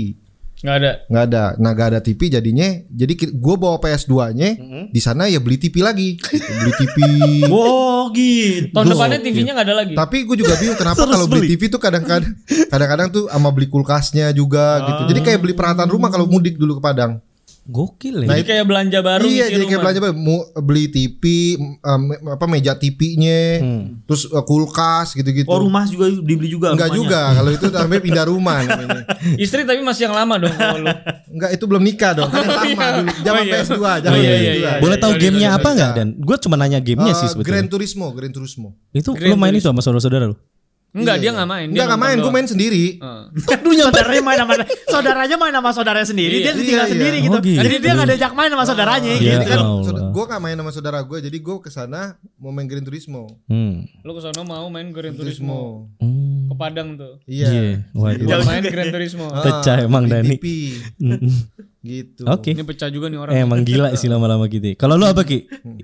Nggak ada.
nggak ada, nah nggak ada TV jadinya, jadi gue bawa PS 2 nya di sana ya beli TV lagi, Gitu, beli TV.
Wow gitu.
Tahun
Gua-
depannya TV-nya nggak ada lagi.
Tapi gue juga bingung kenapa
Terus
kalau beli
beli.
TV tuh kadang-kadang, kadang-kadang tuh sama beli kulkasnya juga gitu, jadi kayak beli peralatan rumah kalau mudik dulu ke Padang.
gokil ya.
Nah,
Jadi kayak belanja baru
iya,
ngisi
jadi kayak
rumah.
belanja apa, mu- beli TV, em, apa meja TV-nya, terus eh, kulkas gitu-gitu.
Oh rumah juga dibeli juga.
Enggak
rumahnya.
juga, kalau itu namanya pindah rumah namanya.
Istri tapi masih yang lama dong kalau lu.
Enggak, itu belum nikah dong. Kan yang lama dulu. Zaman
Oh, iya.
PS2,
Oh,
zaman
iya,
PS2.
iya, iya.
Boleh tahu
iya, iya,
gamenya
iya,
apa
iya.
nggak dan? Gue cuma nanya gamenya
Eh,
sih
Gran
sebetulnya.
Turismo, Gran Turismo.
Itu
Gran
lu main itu
Turismo.
sama saudara-saudara lu?
Enggak,
Iya,
dia Ah. nggak main.
Enggak, enggak main, gue main sendiri.
Aduh nyampe.
Saudaranya main sama saudaranya main sama saudaranya sendiri,
Iya.
dia tinggal
Iya, iya.
sendiri
Oh,
gitu.
gitu.
Jadi dia nggak diajak main sama saudaranya. gitu
Iya.
Jadi kan
Allah.
gue gak main sama saudara gue, jadi gue kesana mau main Gran Turismo.
Hmm.
Lu kesana mau main Gran Turismo
Turismo.
Hmm.
ke Padang tuh.
Iya.
Iya, waduh.
Buat main Gran Turismo.
Ah,
Pecah emang,
beli
Dani.
TV. gitu.
Oke. Eh,
Ini pecah juga nih orang.
Emang gila sih lama-lama gitu. Kalau lu apa Ki?
Hmm.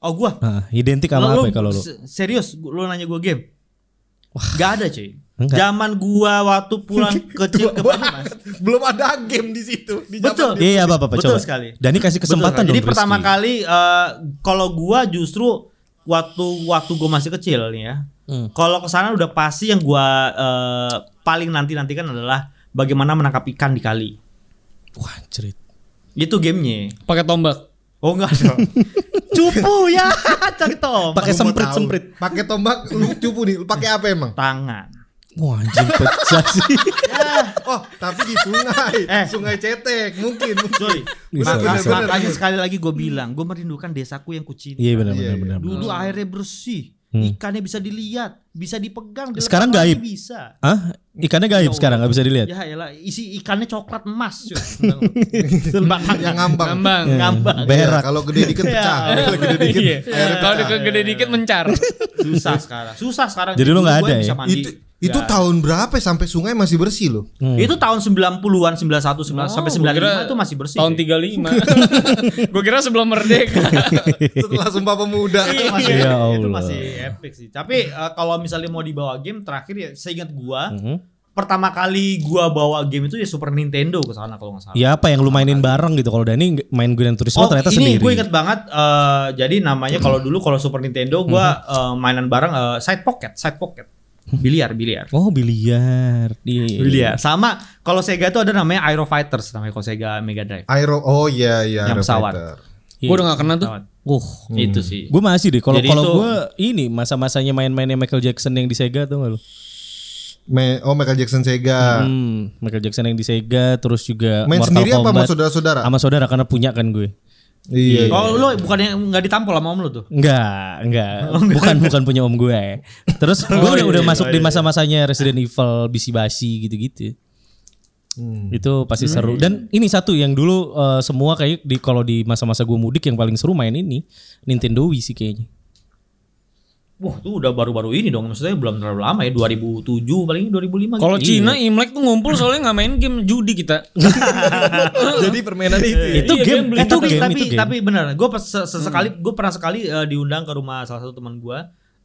Oh gua.
Ah, identik sama apa ya kalau lu?
se- Serius, gua- lu nanya gua game? Gak ada cuy.
Enggak.
Zaman gua waktu pulang kecil
Gitu.
ke Banyumas.
Belum ada game di situ. Di zaman
Betul.
dia.
Iya apa apa coba.
Betul sekali.
Dani kasih kesempatan
Betul,
dong.
Jadi pertama
Rizky.
kali eh, kalau gua justru waktu waktu gua masih kecil nih ya.
Hmm.
Kalau kesana udah pasti yang gua eh, paling nanti nantikan adalah bagaimana menangkap ikan di kali.
Wah cerit.
Itu gamenya.
Pakai tombak.
Oh enggak dong. Cupu ya, cakto.
Pakai
Gua mau
semprit
tahu.
semprit.
Pakai tombak lu cupu nih. Lu pakai apa emang?
Tangan.
Wah anjing pecah sih.
Oh, tapi di sungai.
Eh.
Sungai Cetek mungkin. mungkin.
Cuy,
Bisa,
maka-
bisa.
makanya sekali lagi gue bilang, gue merindukan desaku yang kucinta.
Iya benar benar
Iya,
benar. benar.
Dulu airnya bersih, ikannya bisa dilihat, bisa dipegang. dilepas
Hmm. Sekarang
lagi
gaib.
Bisa.
Hah? Ikannya gaib sekarang nggak bisa dilihat.
Iya.
Ya elah, isi ikannya coklat emas. cuy. Tembak
Yang ngambang.
Ngambang.
Eh.
ngambang.
Berak.
Iya, Kalau gede dikit pecah.
Iya.
Kalau gede dikit
Iya.
airnya
Kalau
pecah.
gede dikit mencar.
Susah sekarang. Susah sekarang.
Jadi lu nggak
Gua
ada ya?
bisa mandi.
Itu Itu
Nggak.
tahun berapa ya sampai sungai masih bersih loh?
Hmm.
Itu tahun 90-an, 91,
Oh,
90 Nah, sampai
Oh, gua kira
95 itu masih bersih.
Tahun 35. gue kira sebelum merdeka.
Setelah Sumpah Pemuda.
itu masih,
Ya
itu
Allah.
masih epic sih. Tapi eh, kalau misalnya mau dibawa game terakhir ya seingat gua
Hmm.
pertama kali gua bawa game itu ya Super Nintendo ke sana kalau nggak salah.
Ya apa yang lu mainin bareng gitu kalau Dani nggak- main Gran Turismo
Oh,
ternyata
ini
sendiri.
gue inget banget. eh, jadi namanya kalau dulu kalau Super Nintendo gue
Mhm.
mainan bareng eh, side pocket, side pocket, biliar, biliar.
Oh biliar. Iya, iya, iya.
Biliar. Sama kalau Sega itu ada namanya Aero Fighters namanya kalau Sega Mega Drive.
Aero oh iya iya
Yang
Aero
pesawat.
Fighter.
Iya.
gue udah gak kena tuh.
Uh,
Itu sih.
gue masih deh. Kalau
Jadi
kalau
itu-
gue ini masa-masanya main-mainnya Michael Jackson yang di Sega tuh nggak lu?
Me- oh Michael Jackson Sega.
Hmm, Michael Jackson yang di Sega, terus juga
Main
Mortal
sendiri apa sama
Kombat.
saudara-saudara?
Sama saudara karena punya kan gue.
Iya. iya.
Oh lo bukannya nggak ditampol sama om lo tuh?
Enggak, enggak. Bukan bukan punya om gue. Terus gue udah udah masuk di masa-masanya Resident Evil, Bisi Basi gitu-gitu. Itu pasti seru. Dan ini satu yang dulu eh, semua kayak di kalau di masa-masa gue mudik yang paling seru main ini Nintendo Wii sih kayaknya.
Wah tuh udah baru-baru ini dong. Maksudnya belum terlalu lama ya 2007 paling 2005.
Kalau
gitu.
Cina Imlek tuh ngumpul soalnya nggak main game judi kita.
Jadi permainan itu. ya?
Itu
Iya,
game,
game,
itu
tapi,
game,
tapi,
itu game.
tapi benar gue sesekali gue pernah sekali eh, diundang ke rumah salah satu teman gue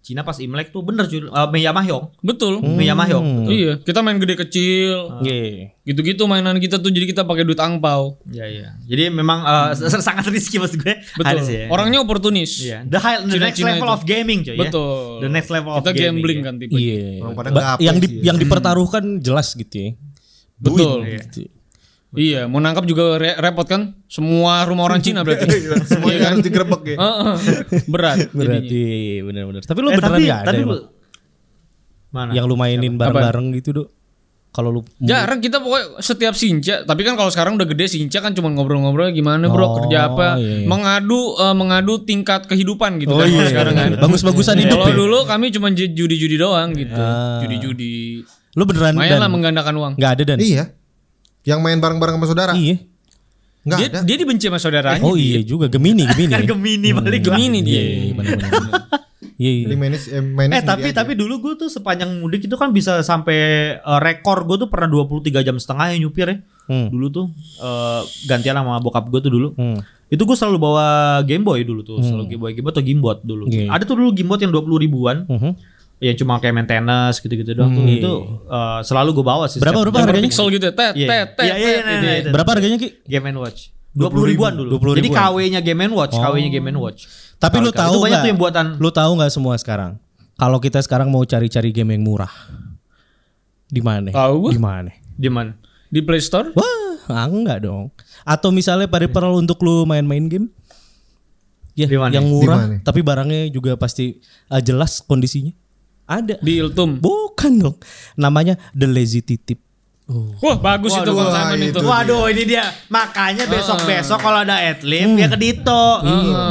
Cina pas Imlek tuh bener cuy Eh, Meya Mahyong
Betul.
Hmm.
Meya Mahyong
Iya, kita main gede kecil.
Iya.
Gitu-gitu mainan kita tuh jadi kita pakai duit angpau.
Iya iya. Jadi memang eh,
Hmm.
s- sangat risky maksud gue.
Betul.
Harus ya.
Orangnya oportunis.
Iya. The, high, the
Cina-Cina
next level
itu.
of gaming coy. ya.
Betul.
The next level of
kita
gaming,
gambling
ya.
kan tipe.
Iya.
Orang pada
Ba-
nggak apa
yang di
sih ya.
yang dipertaruhkan jelas gitu ya.
Betul.
Iya.
Gitu.
Iya, mau nangkap juga re- repot kan? Semua rumah orang Cina berarti.
Iya,
Iya kan?
Semuanya harus digerebek ya.
Heeh. berat.
Berarti benar-benar. Tapi lu
Eh,
beneran
tapi,
nggak ada
tapi
emang?
lu- mana?
yang lu mainin bareng-bareng gitu, Dok. Kalau lu
Jarang kita pokoknya setiap sinca, tapi kan kalau sekarang udah gede sinca kan cuma ngobrol-ngobrol gimana bro
Oh,
kerja apa,
iya, iya.
mengadu eh, mengadu tingkat kehidupan gitu
Oh
kan kalau
iya.
sekarang kan.
Bagus-bagusan hidup.
Kalau
ya.
dulu kami cuma j- judi-judi doang gitu,
Ah.
judi-judi.
Lu beneran
Main lah
dan
menggandakan uang.
nggak ada dan.
Iya. Yang main bareng-bareng sama saudara?
Iya.
Enggak
Dia,
ada.
dia dibenci sama saudaranya.
Oh iya juga Gemini, Gemini.
Kan
ya.
Gemini balik lah.
Gemini
Iya,
dia.
iya, iya, benar-benar. Iya, iya.
Jadi mainnya eh, mainnya
Eh
sendiri
tapi
aja.
tapi dulu gue tuh sepanjang mudik itu kan bisa sampai eh, rekor gue tuh pernah 23 jam setengah ya nyupir ya.
Hmm.
Dulu tuh eh, gantian sama bokap gue tuh dulu.
Hmm.
Itu gue selalu bawa Game Boy dulu tuh, selalu Game Boy, Game Boy atau Gimbot dulu.
Iya.
Ada tuh dulu Gimbot yang 20 ribuan.
Mhm.
Ya cuma kayak main tenis gitu-gitu doang tuh.
Hmm.
Itu eh, selalu gue bawa sih.
Berapa
setiap-
berapa harganya?
Pixel gitu ya, tet,
Iya,
tet, tet, tet,
iya, iya, iya,
gitu
iya,
ya.
iya.
Berapa harganya Ki?
Game and Watch. 20 ribuan dulu.
20
Jadi
ribuan. Oh.
KW-nya Game and Watch, KW-nya Game and Watch.
Tapi lu
Kalau- kalau
tahu
itu banyak tuh yang
nggak?
buatan
Lu tahu nggak semua sekarang? Kalau kita sekarang mau cari-cari game yang murah, di mana?
Tahu gua.
Di mana?
di mana?
Di Play Store.
Wah, ah, enggak dong. Atau misalnya pada perlu untuk lu main-main game? Ya,
Di mana?
yang
Di
murah,
mana?
tapi barangnya juga pasti eh, jelas kondisinya. Ada.
Di Iltum.
Bukan dong. Namanya The Lazy Titip. Oh,
Wah, bagus itu
Waduh,
Bang Saman
wah,
itu.
itu.
Waduh ini dia Makanya besok-besok kalau ada adlib Ya ke Dito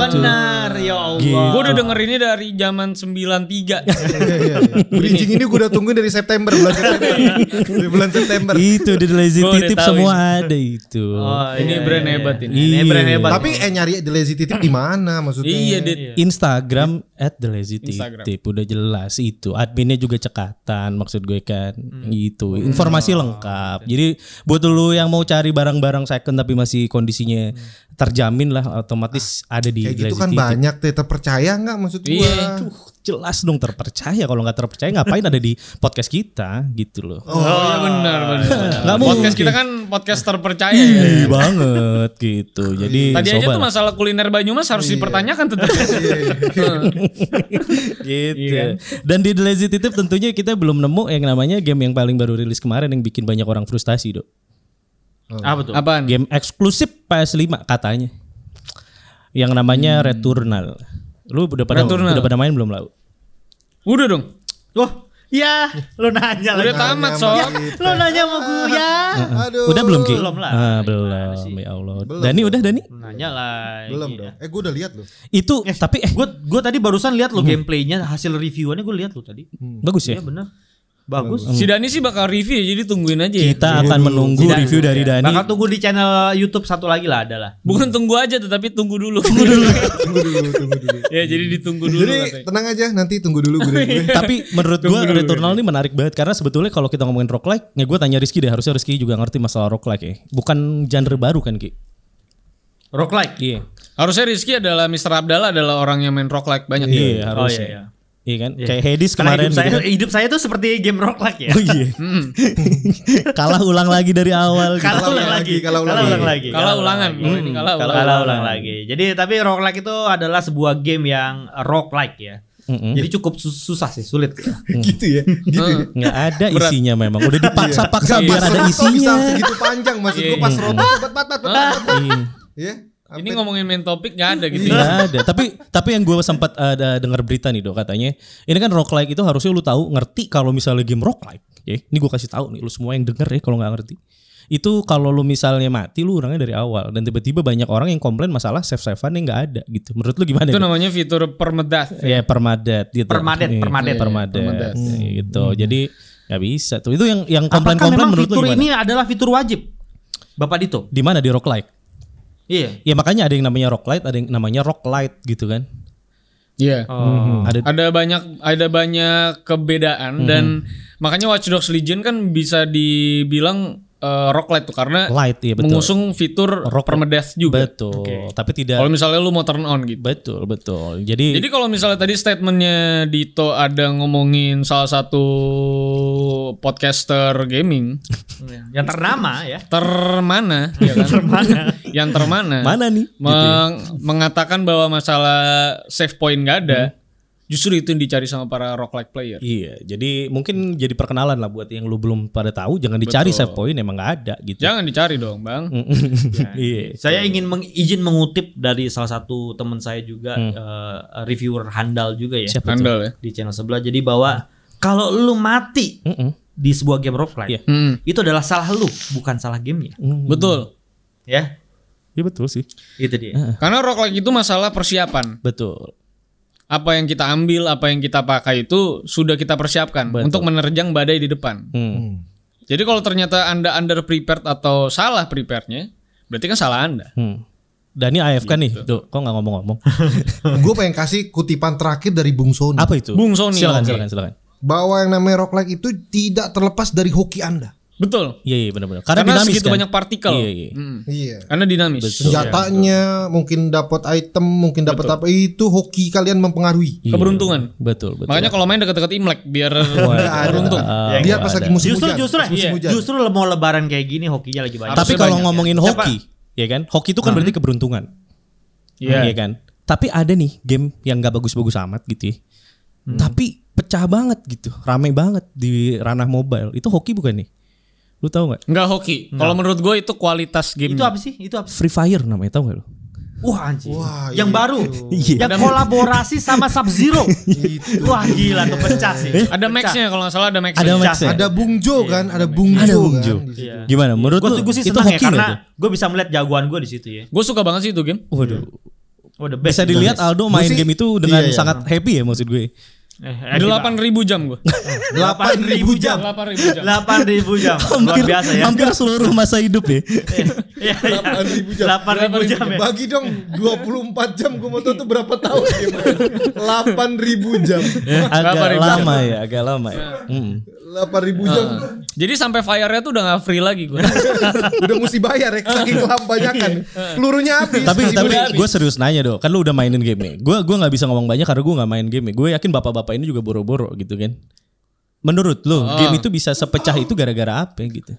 Benar Ya Allah
Gue udah denger ini dari zaman 93.
Iya, iya, iya. Bridging ini gue udah tungguin dari September bulan September. Dari bulan September.
itu The Lazy
Gua udah
Titip
tahu
semua ada itu.
Oh,
ini
iya,
brand
iya,
hebat
iya.
ini.
Ini brand
Iya.
hebat
Tapi eh nyari The Lazy Titip di mana maksudnya?
Iya, Dit.
Instagram at the lazy
Instagram.
titip udah jelas itu adminnya juga cekatan maksud gue kan
Hmm. Oh.
gitu informasi lengkap jadi buat lu yang mau cari barang-barang second tapi masih kondisinya
Hmm.
terjamin lah otomatis
Ah,
ada di
Kayak
The
gitu
Lazy
kan
Titip.
banyak teh terpercaya nggak maksud gue?
Iya.
Aduh, jelas dong terpercaya kalau nggak terpercaya ngapain ada di podcast kita gitu loh
Oh, iya benar benar.
Nggak
podcast
mungkin.
kita kan podcast terpercaya ya.
Ih, banget gitu jadi
Tadi aja
sobat.
tuh masalah kuliner Banyumas harus dipertanyakan tentu.
gitu.
Iya kan?
Dan di The Lazy Titip tentunya kita belum nemu yang namanya game yang paling baru rilis kemarin yang bikin banyak orang frustasi, Dok.
Apa tuh?
Apaan?
Game eksklusif PS5 katanya. Yang namanya
Hmm.
Returnal. Lu udah pada
Returnal.
udah pada main belum, Lau?
Udah dong.
Wah Ya Lo nanya
Udah
lagi
tamat sob.
Lo nanya sama gue ya
Aduh.
Ah, Udah belum, Ki?
Belum lah.
Ah, belum. Ya Allah. Dani udah, Dani?
Lo Nanya lagi
Belum dong. Eh gue udah lihat loh.
Itu tapi eh
Gue gue tadi barusan lihat lo gameplaynya hasil reviewannya gue lihat lo tadi.
bagus ya.
Iya bener. Bagus.
Si Dani sih bakal review jadi tungguin aja. ya.
Kita akan menunggu
Zidane.
review dari Dani.
Iya. Bakal tunggu Nah, di channel YouTube satu lagi lah adalah.
Bukan tunggu aja tetapi tunggu dulu. Tunggu dulu.
Tunggu dulu, tunggu dulu.
ya jadi ditunggu dulu
Jadi
katanya.
tenang aja nanti tunggu dulu gue. gue.
Tapi menurut gue Returnal ini menarik banget karena sebetulnya kalau kita ngomongin rock like, ya gue tanya Rizky deh harusnya Rizky juga ngerti masalah rock like ya. Bukan genre baru kan Ki?
Roguelike.
Iya.
Harusnya Rizky adalah Mr. Abdallah adalah orang yang main rock like banyak
Iya
ya.
harusnya.
iya, iya.
Iya kan?
Iya.
Kayak Hades
Karena
kemarin
hidup saya,
gitu kan.
hidup saya tuh seperti game roguelike ya.
Oh iya.
Hmm.
Kalah ulang lagi dari awal gitu.
Kalau ulang
Kalah
lagi,
lagi, kalah
kalah
ulang
ulang lagi. Hmm,
lagi.
Kalau ulangan, kalau ini kalau
Kalau
ulangan.
ulang, lagi. Jadi tapi roguelike itu adalah sebuah game yang roguelike ya.
Mm-mm.
Jadi cukup sus- susah sih, sulit. ya.
gitu ya. Gitu. ya.
Nggak ada isinya memang. Udah
Iya.
dipaksa-paksa biar ada
Pas rotok bisa gitu.
isinya.
segitu panjang maksud gue pas rotok obat batat
Iya.
ya.
Ini ngomongin main topik gak ada gitu.
Nggak ada. Tapi tapi yang gue sempat eh, ada dengar berita nih dok katanya ini kan roguelike itu harusnya lu tahu ngerti kalau misalnya game roguelike. Ya, ini gue kasih tahu nih lu semua yang denger ya kalau nggak ngerti. Itu kalau lu misalnya mati lu orangnya dari awal dan tiba-tiba banyak orang yang komplain masalah save savean yang nggak ada gitu. Menurut lu gimana?
Itu
Dok?
namanya fitur permedas.
Ya permadet gitu.
Permadet,
Iya,
permadet.
permadet,
Permadet.
Iya, gitu. Jadi nggak bisa tuh. Itu yang yang
Apakah
komplain-komplain
memang
menurut lu
fitur
gimana?
ini adalah fitur wajib? Bapak Dito.
Di mana di roguelike?
Iya.
Ya makanya ada yang namanya roguelite, ada yang namanya roguelite gitu kan.
Oh,
Iya.
Ada
Ada banyak ada banyak
Mm-hmm.
kebedaan dan makanya Watch Dogs Legion kan bisa dibilang eh, roguelite tuh karena
light ya betul.
mengusung fitur
Rock-
permedas juga.
Betul. Iya. Tapi tidak
Kalau misalnya lu mau turn on gitu.
betul betul. Jadi,
Jadi kalau misalnya tadi statementnya Dito ada ngomongin salah satu podcaster gaming
Mm-hmm.
iya. Yang ternama ya.
termana, ya kan? termana, yang termana,
mana nih? Gitu ya.
meng- mengatakan bahwa masalah save point gak ada, justru itu yang dicari sama para roguelike player.
Hmm. Iya. Jadi mungkin jadi perkenalan lah buat yang lu belum pada tahu. Jangan dicari save point emang nggak ada gitu.
Ya.
Jangan dicari dong, bang.
Iya.
Saya ingin meng, izin mengutip dari salah satu teman saya juga eh, reviewer handal juga ya
Mm. Siapa tuh?
Handal ya.
di channel sebelah. Jadi bahwa kalau lu mati
Mm-mm.
di sebuah game roguelike
Iya. Mm.
Mm,
itu adalah salah lu, bukan salah gamenya.
betul.
Ya,
Iya betul sih.
Gitu
itu dia.
Karena roguelike itu masalah persiapan.
Betul.
Apa yang kita ambil, apa yang kita pakai itu sudah kita persiapkan untuk menerjang badai di depan.
Hmm.
Jadi kalau ternyata Anda under prepared atau salah prepare-nya, berarti kan salah Anda.
Hmm. Dani
Iya,
AFK nih, Dok. Kok nggak ngomong-ngomong?
Gue pengen kasih kutipan terakhir dari Bung Sony
Apa itu?
Bung Sony,
Silakan,
oke.
silakan, silakan.
bahwa yang namanya rock like itu tidak terlepas dari hoki Anda.
Betul.
Iya, iya benar-benar. Karena,
Karena,
dinamis
segitu
kan?
banyak partikel.
Iya, iya.
Mm.
Iya.
Karena dinamis.
Senjatanya mungkin dapat item, mungkin dapat apa itu hoki kalian mempengaruhi.
Iya.
Keberuntungan.
Betul, betul.
Makanya kalau main dekat-dekat Imlek biar
Ada.
beruntung.
Ah,
Lihat
nggak
pas
ada.
lagi musim
Justru
hujan.
justru
pas musim
iya,
hujan.
justru le- mau lebaran kayak gini hokinya lagi banyak.
Tapi
Harusnya
kalau
banyak,
ngomongin
Siapa?
hoki, ya kan? Hoki itu kan berarti keberuntungan.
Iya.
Iya kan? Tapi ada nih game yang gak bagus-bagus amat gitu ya.
Hmm.
Tapi pecah banget gitu. Rame banget di ranah mobile. Itu hoki bukan nih? Lu tahu gak?
Enggak hoki. Kalau menurut gue itu kualitas game.
itu apa sih? Itu apa? sih?
Free Fire namanya tahu gak lu?
Wah anjir.
Wah,
yang
iya,
baru.
Iya.
Yang kolaborasi sama Sub Zero. Wah gila tuh pecah sih.
Ada max-nya kalau nggak salah ada max-nya.
Ada
Pecah.
Max
Ada Bung Jo kan, ada Bung Jo.
iya. Ada Bung Jo.
kan di situ.
Iya.
Gimana? Menurut
Gue
lu
gue sih
itu
senang ya
hoki gak
karena gue bisa melihat jagoan gue di situ ya.
Gue suka banget sih itu game.
tuh? Waduh.
Oh, the best.
Bisa dilihat Aldo main
sih-
game itu dengan
iya, iya.
sangat happy ya maksud gue.
Eh, gitu.
Delapan ribu jam gue.
8000 jam.
Delapan ribu jam.
8000 jam. Luar
Hampir,
biasa ya.
hampir seluruh masa hidup ya.
Iya, iya.
8.000 jam.
8.000 jam ya.
Bagi dong 24 jam gue mau tahu tuh berapa tahun dia main. 8.000 jam.
Kabar
agak
itu.
lama ya, agak lama ya. Mm.
8.000 jam.
Jadi sampai fire-nya tuh udah nggak free lagi gue.
Udah mesti bayar ya saking kebanyakan. Pelurunya habis.
tapi
Masih
tapi
belum-
gue serius nanya dong kan lu udah mainin game nih gue gua nggak bisa ngomong banyak karena gue nggak main game gue yakin bapak-bapak ini juga boro-boro gitu kan menurut lu game itu bisa sepecah itu gara-gara apa gitu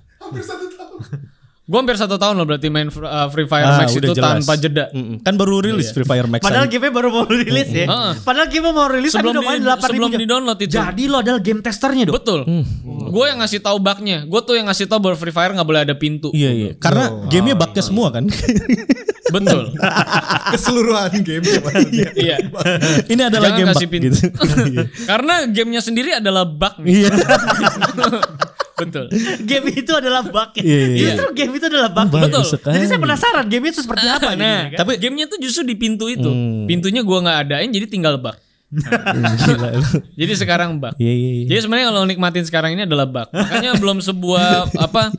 gue hampir satu tahun loh berarti main uh, Free Fire
Ah,
Max
udah
itu
jelas.
tanpa jeda.
Mm-mm. kan baru rilis Free Fire Max
Padahal
aja.
game baru mau rilis ya. Padahal game mau rilis
Sebelum
tapi udah main
di-
8000
sebelum
jam.
di-download itu.
Jadi lo adalah game testernya dong.
Betul.
Hmm.
Gue yang ngasih tahu bugnya. Gue tuh yang ngasih tahu bahwa Free Fire nggak boleh ada pintu.
iya iya karena gamenya bugnya semua kan
Betul.
keseluruhan game ya, maksudnya.
iya.
ini adalah
Jangan
game
kasih
bug
pintu.
gitu
Karena gamenya sendiri adalah bug.
iya
Betul.
Game itu adalah bug. ya.
Iya, iya.
Justru game itu adalah bug.
Bagus
Betul.
sekali.
Jadi saya penasaran game itu seperti apa
Nah,
jadinya kan?
Hmm.
tapi gamenya tuh justru di pintu itu. Pintunya gua nggak adain jadi tinggal bug.
Gila lu.
Jadi sekarang bug.
Iya iya iya.
Jadi sebenarnya kalau nikmatin sekarang ini adalah bug. Makanya belum sebuah apa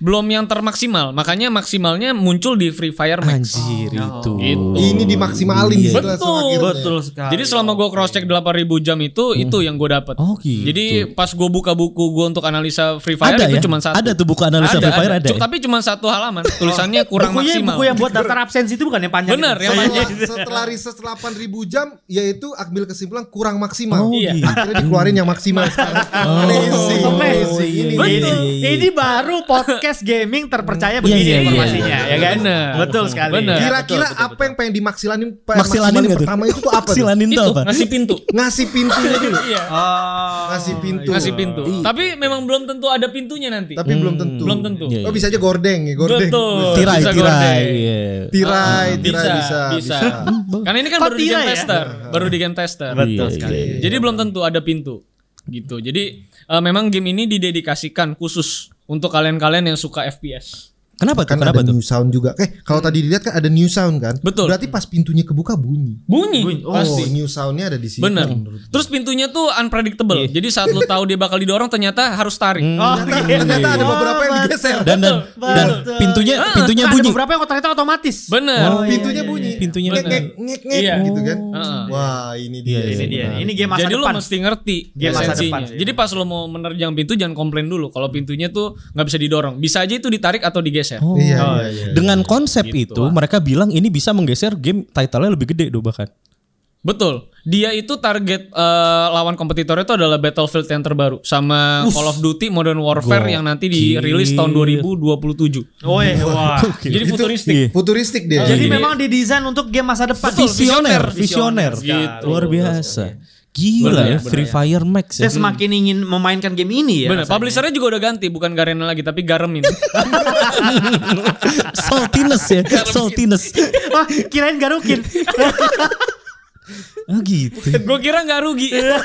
belum yang termaksimal. Makanya maksimalnya muncul di Free Fire Max.
Anjir
Gitu.
itu.
Ini dimaksimalin
Iya.
setelah
Betul.
akhirnya.
Betul sekali.
Jadi selama gue cross check 8000 jam itu itu yang gue dapat.
Oh, gitu.
Jadi pas gue buka buku gue untuk analisa Free Fire
Ada
itu
ya?
cuma satu.
Ada tuh buku analisa Free Fire ada
Cuk-
ya?
Tapi cuma satu halaman. Tulisannya kurang
bukunya,
maksimal.
buku yang buat daftar absensi itu bukan yang panjang.
Bener,
itu.
yang
Saya-
panjang. Iya,
Setelah, setelah riset 8000 jam yaitu ambil kesimpulan kurang maksimal.
Oh, Iya. gitu.
Akhirnya dikeluarin yang maksimal sekarang. Amazing,
Oh,
amazing.
iya,
Ini
iya,
Betul.
iya, iya.
Ini baru podcast gaming terpercaya
Iya,
begini
iya, iya.
informasinya, ya kan?
Bener.
Betul sekali.
Bener.
Kira-
Kira-kira apa yang pengen dimaksilanin
Maksilanin
maksimalin
nggak tuh?
pertama itu tuh apa? tuh?
Maksilanin
itu
tuh apa?
ngasih pintu.
Ngasih pintunya dulu.
Iya.
Oh.
Ngasih pintu.
Ngasih pintu.
Iya.
Tapi memang belum tentu ada pintunya nanti.
Tapi belum tentu.
Belum tentu.
Iya,
Oh bisa aja gordeng ya, gordeng.
Betul.
Tirai
Bisa
tirai.
gorden.
Iya.
Tirai,
Ah,
tirai
bisa,
bisa,
bisa.
bisa.
Karena ini kan
Kok
baru di game
tirai ya?
tester, baru di game tester.
Iya,
Betul
iya,
sekali.
iya.
Jadi belum tentu ada pintu gitu. Jadi eh, memang game ini didedikasikan khusus untuk kalian-kalian yang suka FPS.
Kenapa tuh?
Kan
Kenapa
ada
tuh?
new sound juga. Eh, kalau tadi dilihat kan ada new sound kan?
Betul.
Berarti pas pintunya kebuka bunyi.
Bunyi, pasti.
Oh, new soundnya ada di sini.
Bener.
Menurut- Iya.
Terus pintunya tuh unpredictable. Jadi saat lu tahu dia bakal didorong ternyata harus tarik.
Oh,
Ternyata,
iya.
ternyata ada beberapa yang digeser.
Dan dan dan pintunya Iya,
Ah,
pintunya
Ada
bunyi. Oh, iya,
beberapa yang ternyata otomatis.
Bener.
Oh, pintunya bunyi.
Pintunya
ngek
bener.
ngek ngek ngek
Iya.
gitu kan.
Heeh.
Wah, ini dia.
Iya,
Ini
iya.
dia. Ini game masa
Jadi
depan.
lu mesti ngerti
Game masa
esensinya.
depan sih.
Jadi pas lu mau menerjang pintu jangan komplain dulu kalau pintunya tuh nggak bisa didorong. Bisa aja itu ditarik atau digeser.
Oh.
Iya,
Oh,
iya, iya.
Dengan konsep
Gitu.
itu mereka bilang ini bisa menggeser game title-nya lebih gede do bahkan.
Betul. Dia itu target eh, lawan kompetitornya itu adalah Battlefield yang terbaru sama Call of Duty Modern Warfare yang nanti dirilis tahun 2027.
Oh, iya. Wah.
Jadi
Itu-
futuristik.
Iya.
Futuristik dia.
Jadi
Iya.
memang didesain untuk game masa depan.
Betul.
Visioner, visioner.
visioner.
Gitu.
Luar biasa. Gila
Bener,
ya Free Fire Max
Mhm.
ya.
Saya semakin ingin memainkan game ini ya.
Bener, publishernya juga udah ganti, bukan Garena lagi tapi Garemin.
Saltiness ya, saltiness.
Wah, Ah, kirain garukin.
Oh gitu.
Gue kira nggak rugi.
Iya.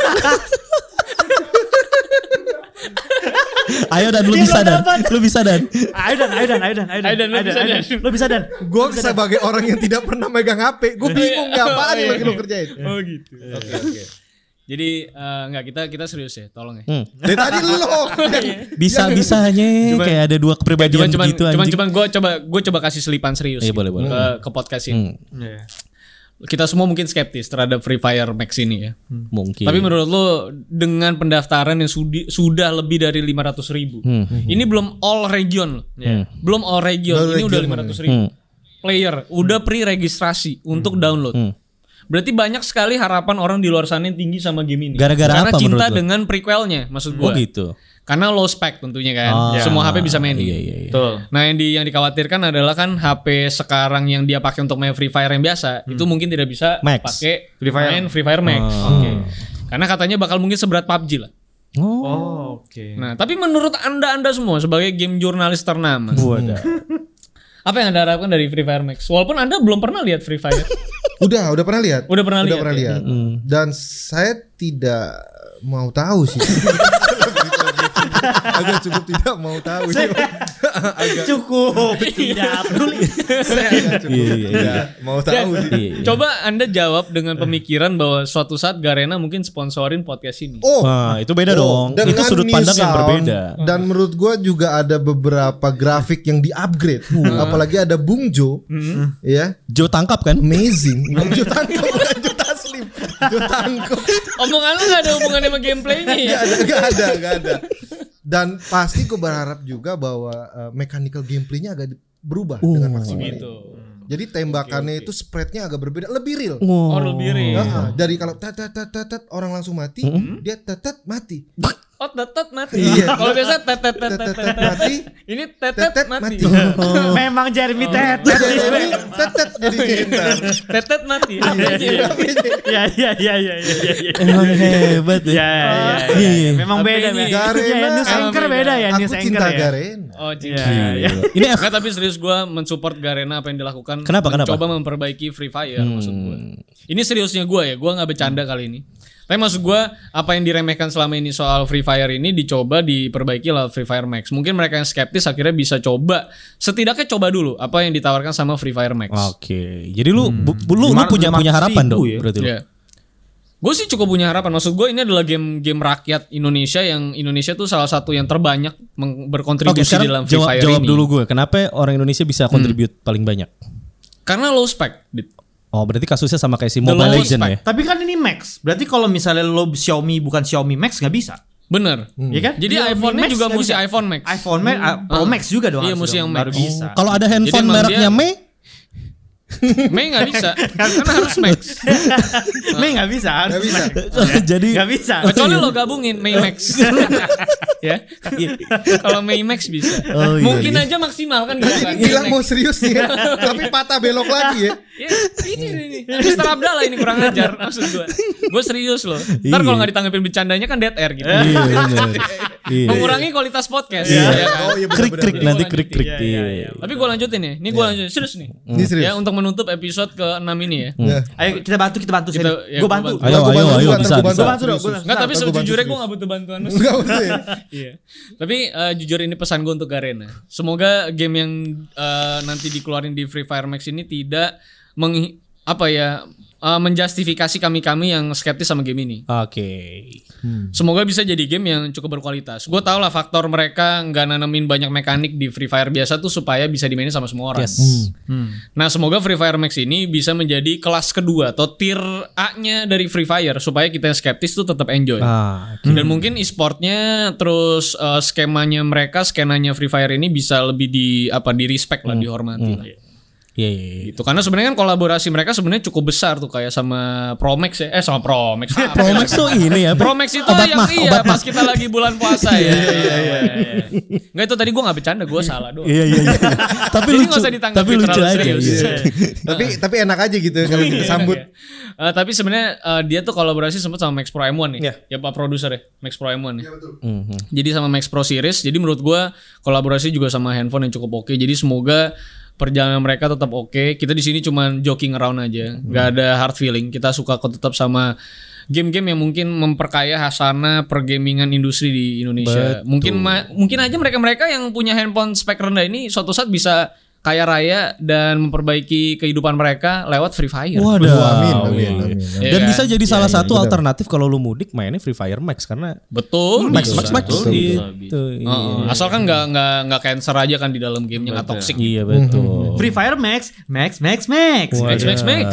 Ayo dan lu bisa dan. Lu bisa dan.
Ayo dan, ayo dan, ayo dan, ayo dan,
Ayo Dan, lu bisa, Dan.
Lo bisa dan.
Gue sebagai orang yang tidak pernah megang HP, gue bingung ya apaan yang lagi lo kerjain.
Iya.
oh gitu. Oke oke. Jadi eh, nggak kita kita serius ya, tolong
Iya,
ya.
Hmm.
Dari tadi lo.
Bisa bisanya kayak
Iya.
ada dua
Cuman
kepribadian
cuman
gitu
cuman,
anjing.
cuman gue coba gue coba kasih selipan serius.
Iya,
gitu
boleh, Hmm. boleh.
Ke, ke podcast ini.
Iya.
Kita semua mungkin skeptis terhadap Free Fire Max ini ya.
Mungkin.
Tapi menurut lo dengan pendaftaran yang sudi- sudah lebih dari 500 ribu,
Hmm,
ini belum all region, loh. ya. belum all region,
Baru
ini udah
region
500 ribu
Hmm.
player, udah pre-registrasi untuk download.
Hmm.
Berarti banyak sekali harapan orang di luar sana yang tinggi sama game ini.
Gara-gara
Karena
apa
cinta
menurut lo?
dengan prequelnya, maksud
oh
gua.
gitu.
Karena low spec tentunya kan,
Ah,
semua HP bisa main.
Iya iya iya.
Ya. Betul.
Nah yang di yang dikhawatirkan adalah kan HP sekarang yang dia pakai untuk main Free Fire yang biasa itu mungkin tidak bisa
Max. Ah.
pakai
Hmm. Free Fire.
main Free Fire Max. Oke. Karena katanya bakal mungkin seberat PUBG lah.
Oh.
Oh, oke.
Nah tapi menurut anda anda semua sebagai game jurnalis ternama,
Wadah.
apa yang anda harapkan dari Free Fire Max? Walaupun anda belum pernah lihat Free Fire,
Udah, udah pernah lihat?
Udah pernah lihat, ya?
lihat.
Hmm.
Dan saya tidak mau tahu sih. Gitu, Agak cukup tidak mau tahu.
Cukup. Tidak peduli.
saya agak cukup
Iya, iya,
tidak mau tahu sih.
Iya, iya.
coba anda jawab dengan pemikiran bahwa suatu saat Garena mungkin sponsorin podcast ini.
Oh,
Wah, itu beda
Oh,
dong. Itu
dengan
sudut
new
pandang yang
sound,
berbeda.
Dan menurut gua juga ada beberapa grafik yang di-upgrade.
Hmm.
Apalagi ada Bung Jo. Ya,
Jo tangkap kan?
amazing. Bung Jo tangkep, bukan Jo taslim. Jo tangkep.
Omongan lu gak ada hubungannya sama gameplaynya ya?
Gak ada, gak ada, gak ada. Dan pasti gue berharap juga bahwa eh, mechanical gameplaynya agak di- berubah dengan maksimal. ini.
Gitu.
Jadi tembakannya itu spreadnya agak berbeda, lebih real.
Wow.
Oh, lu diri.
Heeh, dari kalau tat tat tat tat, tat, orang langsung mati, dia tat tat mati.
Oh tetet mati.
Iya.
Kalau biasa tetet
Tat
tetet
tat
tetet.
tat mati,
Ini tetet,
Tetet
mati. Iya.
mati.
Oh.
Memang Jeremy Ted.
jadi tat tat jadi pintar.
tetet mati. Iya.
Ya, ya, ya, ya, ya, ya, ya.
Emang hebat
Ya,
ya.
ya,
Iya, iya.
ya. Memang
Apa
beda,
ini?
men.
Garena.
Ya, ya, news anchor
Emang
beda ya,
Aku
news anchor
cinta
ya.
Garena.
Oh
Iya.
Ya,
cinta.
ya.
Ini F
Enggak tapi serius gue mensupport Garena apa yang dilakukan.
Kenapa, kenapa? Hmm.
Coba memperbaiki Free Fire maksud gue. Ini seriusnya gue ya, gue nggak bercanda kali ini. Tapi maksud gue apa yang diremehkan selama ini soal Free Fire ini dicoba diperbaiki lah Free Fire Max. Mungkin mereka yang skeptis akhirnya bisa coba, setidaknya coba dulu apa yang ditawarkan sama Free Fire Max.
Hmm.
ya?
Oke, jadi lu bu- lu, lu punya punya harapan dong berarti lu.
Iya. Gue Iya. sih cukup punya harapan. Maksud gue ini adalah game-game rakyat Indonesia yang Indonesia tuh salah satu yang terbanyak meng-
Oke,
berkontribusi
sekarang
dalam Free
jawab,
Fire
jawab
ini.
dulu gue. Kenapa orang Indonesia bisa contribute paling banyak?
Karena low spec. Dit.
Oh, berarti kasusnya sama kayak si
The
Mobile
lowest
Legend
spec.
ya.
Tapi kan ini Max. Berarti kalau misalnya lo Xiaomi bukan Xiaomi Max nggak bisa.
Bener.
Iya kan?
Jadi
Xiaomi
iPhone-nya
Max
juga
nggak
mesti
bisa.
iPhone Max.
iPhone Max, ah, Pro
Ah.
Max juga dong.
Iya,
harus
mesti
dong,
yang
baru
Max.
bisa.
Kalau ada handphone
emang
mereknya
dia- Iya.
Mei,
Mei nggak bisa. Karena harus Max.
Mei nggak bisa.
Nggak bisa.
jadi
Gak bisa.
Kecuali
Iya.
lo gabungin Mei Max. ya. Kalau Mei Max bisa.
Oh, iya,
Mungkin
iya.
aja maksimal kan gitu kan.
Bilang
Mei
mau
Max.
serius nih ya, tapi patah belok lagi ya.
Ya, ini ini. Mister Abdallah ini kurang ajar maksud gua. Gua serius loh. Ntar kalau nggak ditanggepin bercandanya kan dead air gitu.
Iya, bener. Iya.
Mengurangi kualitas podcast.
Iya.
ya kan?
Oh iya
Krik-krik
bener-bener.
nanti krik-krik
Iya,
di.
iya, iya.
Tapi gua lanjutin nih. Ini gua lanjutin serius nih.
Ini Iya. Mm. serius.
Ya untuk menutup episode ke-6 ini ya.
Ya.
Ayo kita bantu, kita bantu.
Kita-
Seri.
ya,
gue
gua
bantu.
Ntar
Ayo,
gua
ayo,
bantu,
ayo,
ntar
bisa,
gua
bisa.
bantu, ntar gua bantu.
Enggak, tapi
Ntar gua bantu
sejujurnya gue
serius.
gak butuh bantuan lu.
Enggak usah ya.
Iya. Tapi eh, jujur ini pesan gue untuk Garena. Semoga game yang eh, nanti dikeluarin di Free Fire Max ini tidak meng apa ya eh, menjustifikasi kami-kami yang skeptis sama game ini.
Oke.
Semoga bisa jadi game yang cukup berkualitas. Gue tau lah faktor mereka nggak nanemin banyak mekanik di Free Fire biasa tuh supaya bisa dimainin sama semua orang.
Yes. Hmm.
Nah semoga Free Fire Max ini bisa menjadi kelas kedua atau tier A-nya dari Free Fire supaya kita yang skeptis tuh tetap enjoy.
Ah,
Dan mungkin e-sportnya terus eh, skemanya mereka, skenanya Free Fire ini bisa lebih di apa di respect lah,
Hmm.
dihormati lah.
iya, iya, iya.
Gitu. Karena sebenarnya kan kolaborasi mereka sebenarnya cukup besar tuh kayak sama Promax ya. Eh sama Promax. Ah, apa
Promax tuh ini ya. apa?
Promax itu
obat
yang
mah,
iya
obat
pas
mah.
kita lagi bulan puasa ya. Iya iya Enggak itu tadi gua nggak bercanda, gua salah doang.
Iya, iya, iya. Tapi
Jadi nggak
lucu.
usah ditanggapi
Tapi lucu
terlalu
aja.
serius.
iya.
Tapi tapi enak aja gitu kalau kita sambut.
Iya. Eh, tapi sebenarnya eh, dia tuh kolaborasi sempat sama Max Pro M1 nih. Ya
Iya.
Pak produser ya, Max Pro M1 nih.
Mhm.
Jadi sama Max Pro Series. Jadi menurut gua kolaborasi juga sama handphone yang cukup oke. Jadi semoga perjalanan mereka tetap oke. Kita di sini cuman joking around aja,
Mhm.
nggak ada hard feeling. Kita suka kok tetap sama game-game yang mungkin memperkaya hasana pergamingan industri di Indonesia. Mungkin ma- mungkin aja mereka-mereka yang punya handphone spek rendah ini suatu saat bisa kaya raya dan memperbaiki kehidupan mereka lewat Free Fire.
Waduh,
Amin, amin,
iya.
amin.
Iya
Dan
kan?
bisa jadi salah satu alternatif kalau lu mudik mainnya Free Fire Max karena
Betul.
Max
bisa.
Max Max
betul,
gitu.
Heeh. Asal kan nggak nggak nggak cancer aja kan di dalam gamenya nggak toxic.
Iya betul.
Free Fire Max, Max, Max, Max.
Oh,
Max, Max, Max.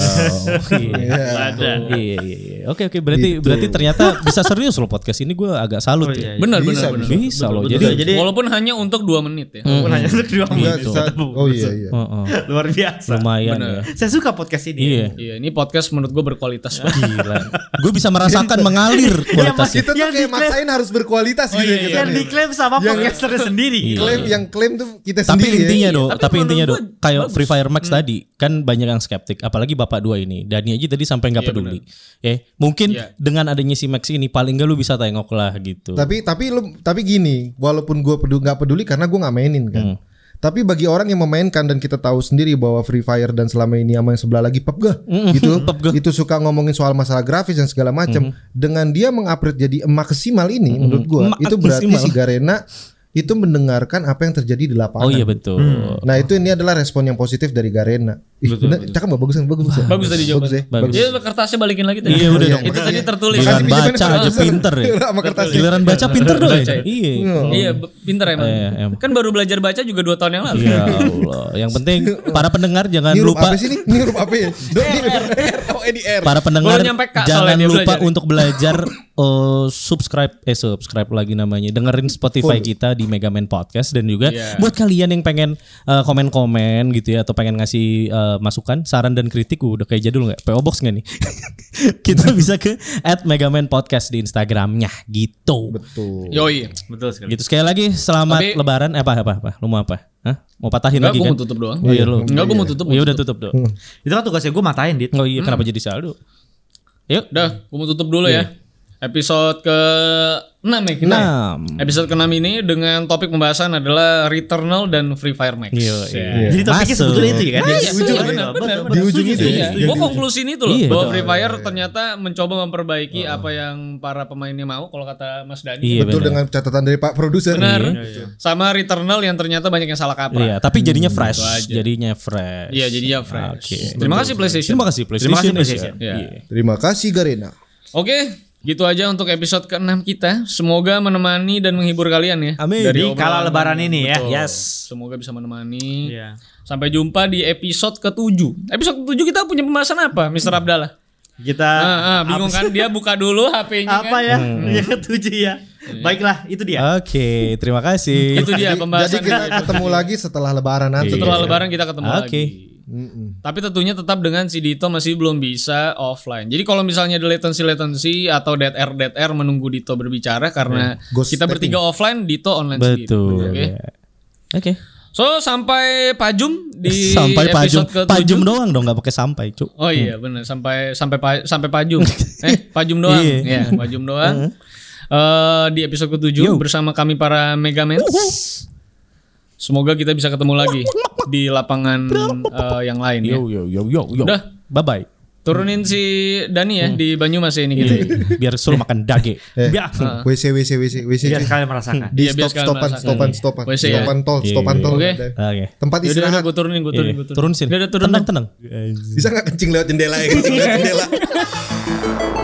Waduh. Iya.
Ada.
Iya, iya, iya. Oke, oke. Berarti berarti ternyata bisa serius loh podcast ini gue agak
Oh,
salut ya.
iya,
Benar
Bisa,
benar benar.
Bisa
bisa.
loh.
Betul,
Jadi Hmm.
betul. Jadi-
Walaupun hanya untuk dua menit ya.
Walaupun hanya untuk dua
Enggak
menit.
bisa. Oh iya iya.
Heeh.
Luar biasa.
lumayan ya.
Saya suka podcast ini.
Iya.
Nah, Iya, ini podcast menurut gue berkualitas banget.
Gila. Iya. Gue bisa merasakan mengalir kualitasnya.
Kita tuh
Yang
kayak
diklaim-
maksain harus berkualitas gitu
iya,
ya kita
Yang
nih.
diklaim sama podcasternya sendiri. gitu.
Klaim yang klaim tuh kita
Iya. Tapi
sendiri
intinya gitu. iya.
ya.
dong,
Tapi
tapi
menurut
intinya
gua Hmm.
dong, kayak Free Fire Max tadi kan banyak yang skeptik, apalagi bapak dua ini. Dani aja tadi sampai nggak peduli. Ya, mungkin
Iya.
dengan adanya si Max ini paling nggak lu bisa tengok lah gitu.
Tapi tapi lu tapi gini, walaupun gua peduli nggak peduli karena gua nggak mainin kan. Tapi bagi orang yang memainkan dan kita tahu sendiri bahwa Free Fire dan selama ini sama yang sebelah lagi PUBG gitu, itu suka ngomongin soal masalah grafis dan segala macam. Dengan dia mengupgrade jadi maksimal ini menurut gua
Emak
itu berarti
maksimal.
si Garena itu mendengarkan apa yang terjadi di lapangan.
oh iya betul.
Nah itu ini adalah respon yang positif dari Garena. Ih, bener, cakep nggak? bagus kan? Bagus, kan?
Bagus tadi jawaban.
Bagus ya.
Bagus.
Bagus.
Iya, kertasnya balikin lagi tadi.
Iya udah
Iya,
dong.
Itu tadi tertulis.
Makasih
Giliran
pinjemin
baca
sama
aja
kertas.
pinter ya.
Sama kertas.
Giliran baca pinter dong.
Baca
ya.
ya.
Iya.
Iya, be- pinter emang.
Iya, emang.
Kan baru belajar baca juga dua tahun yang lalu.
Ya Allah. Yang penting para pendengar jangan
Ini huruf
lupa Iya,
apa sih ini? Ini huruf apa ya? Do, ini, R. Oh ini R.
para pendengar
Baru nyampe Kak,
jangan
soalnya dia
lupa
belajar.
untuk belajar eh, subscribe eh subscribe lagi namanya dengerin Spotify kita di Megaman Podcast dan juga
Iya.
buat kalian yang pengen eh, komen-komen gitu ya atau pengen ngasih eh, masukan saran dan kritik uh, udah kayak jadul nggak PO Box nggak nih kita bisa ke at Megaman Podcast di Instagramnya gitu
Betul.
Yoi.
Betul sekali.
gitu sekali lagi selamat
Tapi-
Lebaran eh, apa apa apa lu mau apa Hah? mau patahin
Enggak,
lagi
gue
kan
mau tutup doang.
oh iya lu
Enggak, gue mau tutup. Hmm.
ya udah tutup dong
Itu kan tugasnya gue matain dit.
oh iya kenapa jadi saldo yuk
Udah, gue mau tutup dulu ya. Episode ke 6 ya kita. ya?
Iya. Enam.
Episode ke-6 ini dengan topik pembahasan adalah Returnal dan Free Fire Max. Ya.
Iya.
Jadi topiknya
Masuk.
sebetulnya itu ya kan?
Iya,
Di ujung.
iya, benar, benar,
Di ujung itu ya.
Iya, gue konklusi itu loh
Iya,
bahwa
betul.
Free Fire ternyata mencoba memperbaiki apa yang para pemainnya mau kalau kata Mas Dani.
Iya, benar.
Betul dengan catatan dari Pak Produser.
Benar. Sama Returnal yang ternyata banyak yang salah
Iya,
kaprah.
tapi jadinya fresh, jadinya fresh.
Iya, jadinya fresh.
Oke.
Terima kasih PlayStation.
Terima kasih PlayStation.
Terima kasih PlayStation.
Asia.
Iya.
Iya.
Terima kasih Garena.
Oke, gitu aja untuk episode ke-6 kita. Semoga menemani dan menghibur kalian ya.
Amin.
Dari
Di
obrolan-
kala lebaran ini ya.
Betul.
Yes.
Semoga bisa menemani.
Iya.
Sampai jumpa di episode ke-7. Episode ke-7 kita punya pembahasan apa, Mr. Abdallah?
Kita
Ah, ah, bingung kan dia buka dulu HP-nya
apa
kan.
ya? Yang ketujuh ya. Baiklah, itu
Ah.
dia.
Oke, terima kasih.
Itu dia Iya,
Jadi
pembahasan.
kita ketemu lagi setelah lebaran nanti.
Setelah
Iya.
lebaran kita ketemu
Oke.
lagi.
Mm-mm.
Tapi tentunya tetap dengan si Dito masih belum bisa offline. Jadi kalau misalnya ada latency latency atau dead air dead air menunggu Dito berbicara karena
Iya. Ghost
kita
typing.
bertiga offline, Dito online sendiri.
Betul.
Oke.
ya. Oke.
So sampai pajum di
Sampai pajum.
episode ke-7.
Pajum doang dong nggak pakai sampai, Cuk.
Oh iya
Hmm.
benar sampai sampai pa- sampai pajum. eh pajum doang.
Iya.
Iya, pajum doang. Eh, di episode ke-7 bersama kami para Megamans.
Uhuh.
Semoga kita bisa ketemu lagi di lapangan eh, yang lain ya.
Yo yo yo yo yo.
Udah.
Bye bye.
Turunin si Dani
Hmm.
ya di Banyumas ya ini gitu.
Iya. Biar suruh makan dage.
Eh,
Biar
WC WC WC WC.
biar kalian merasakan.
Iya,
Di
biar
stop
sekalian
stopan
merasakan.
stopan stopan
WC ya?
stopan
Iya,
tol stopan tol.
Oke.
Ada.
Oke.
Yaudah,
Tempat
udah
istirahat.
gue turunin, gue
Iya.
turunin, gue turunin.
Turun sini.
Udah, udah, turunin.
Tenang tenang.
bisa nggak kencing lewat jendela ya kencing lewat jendela.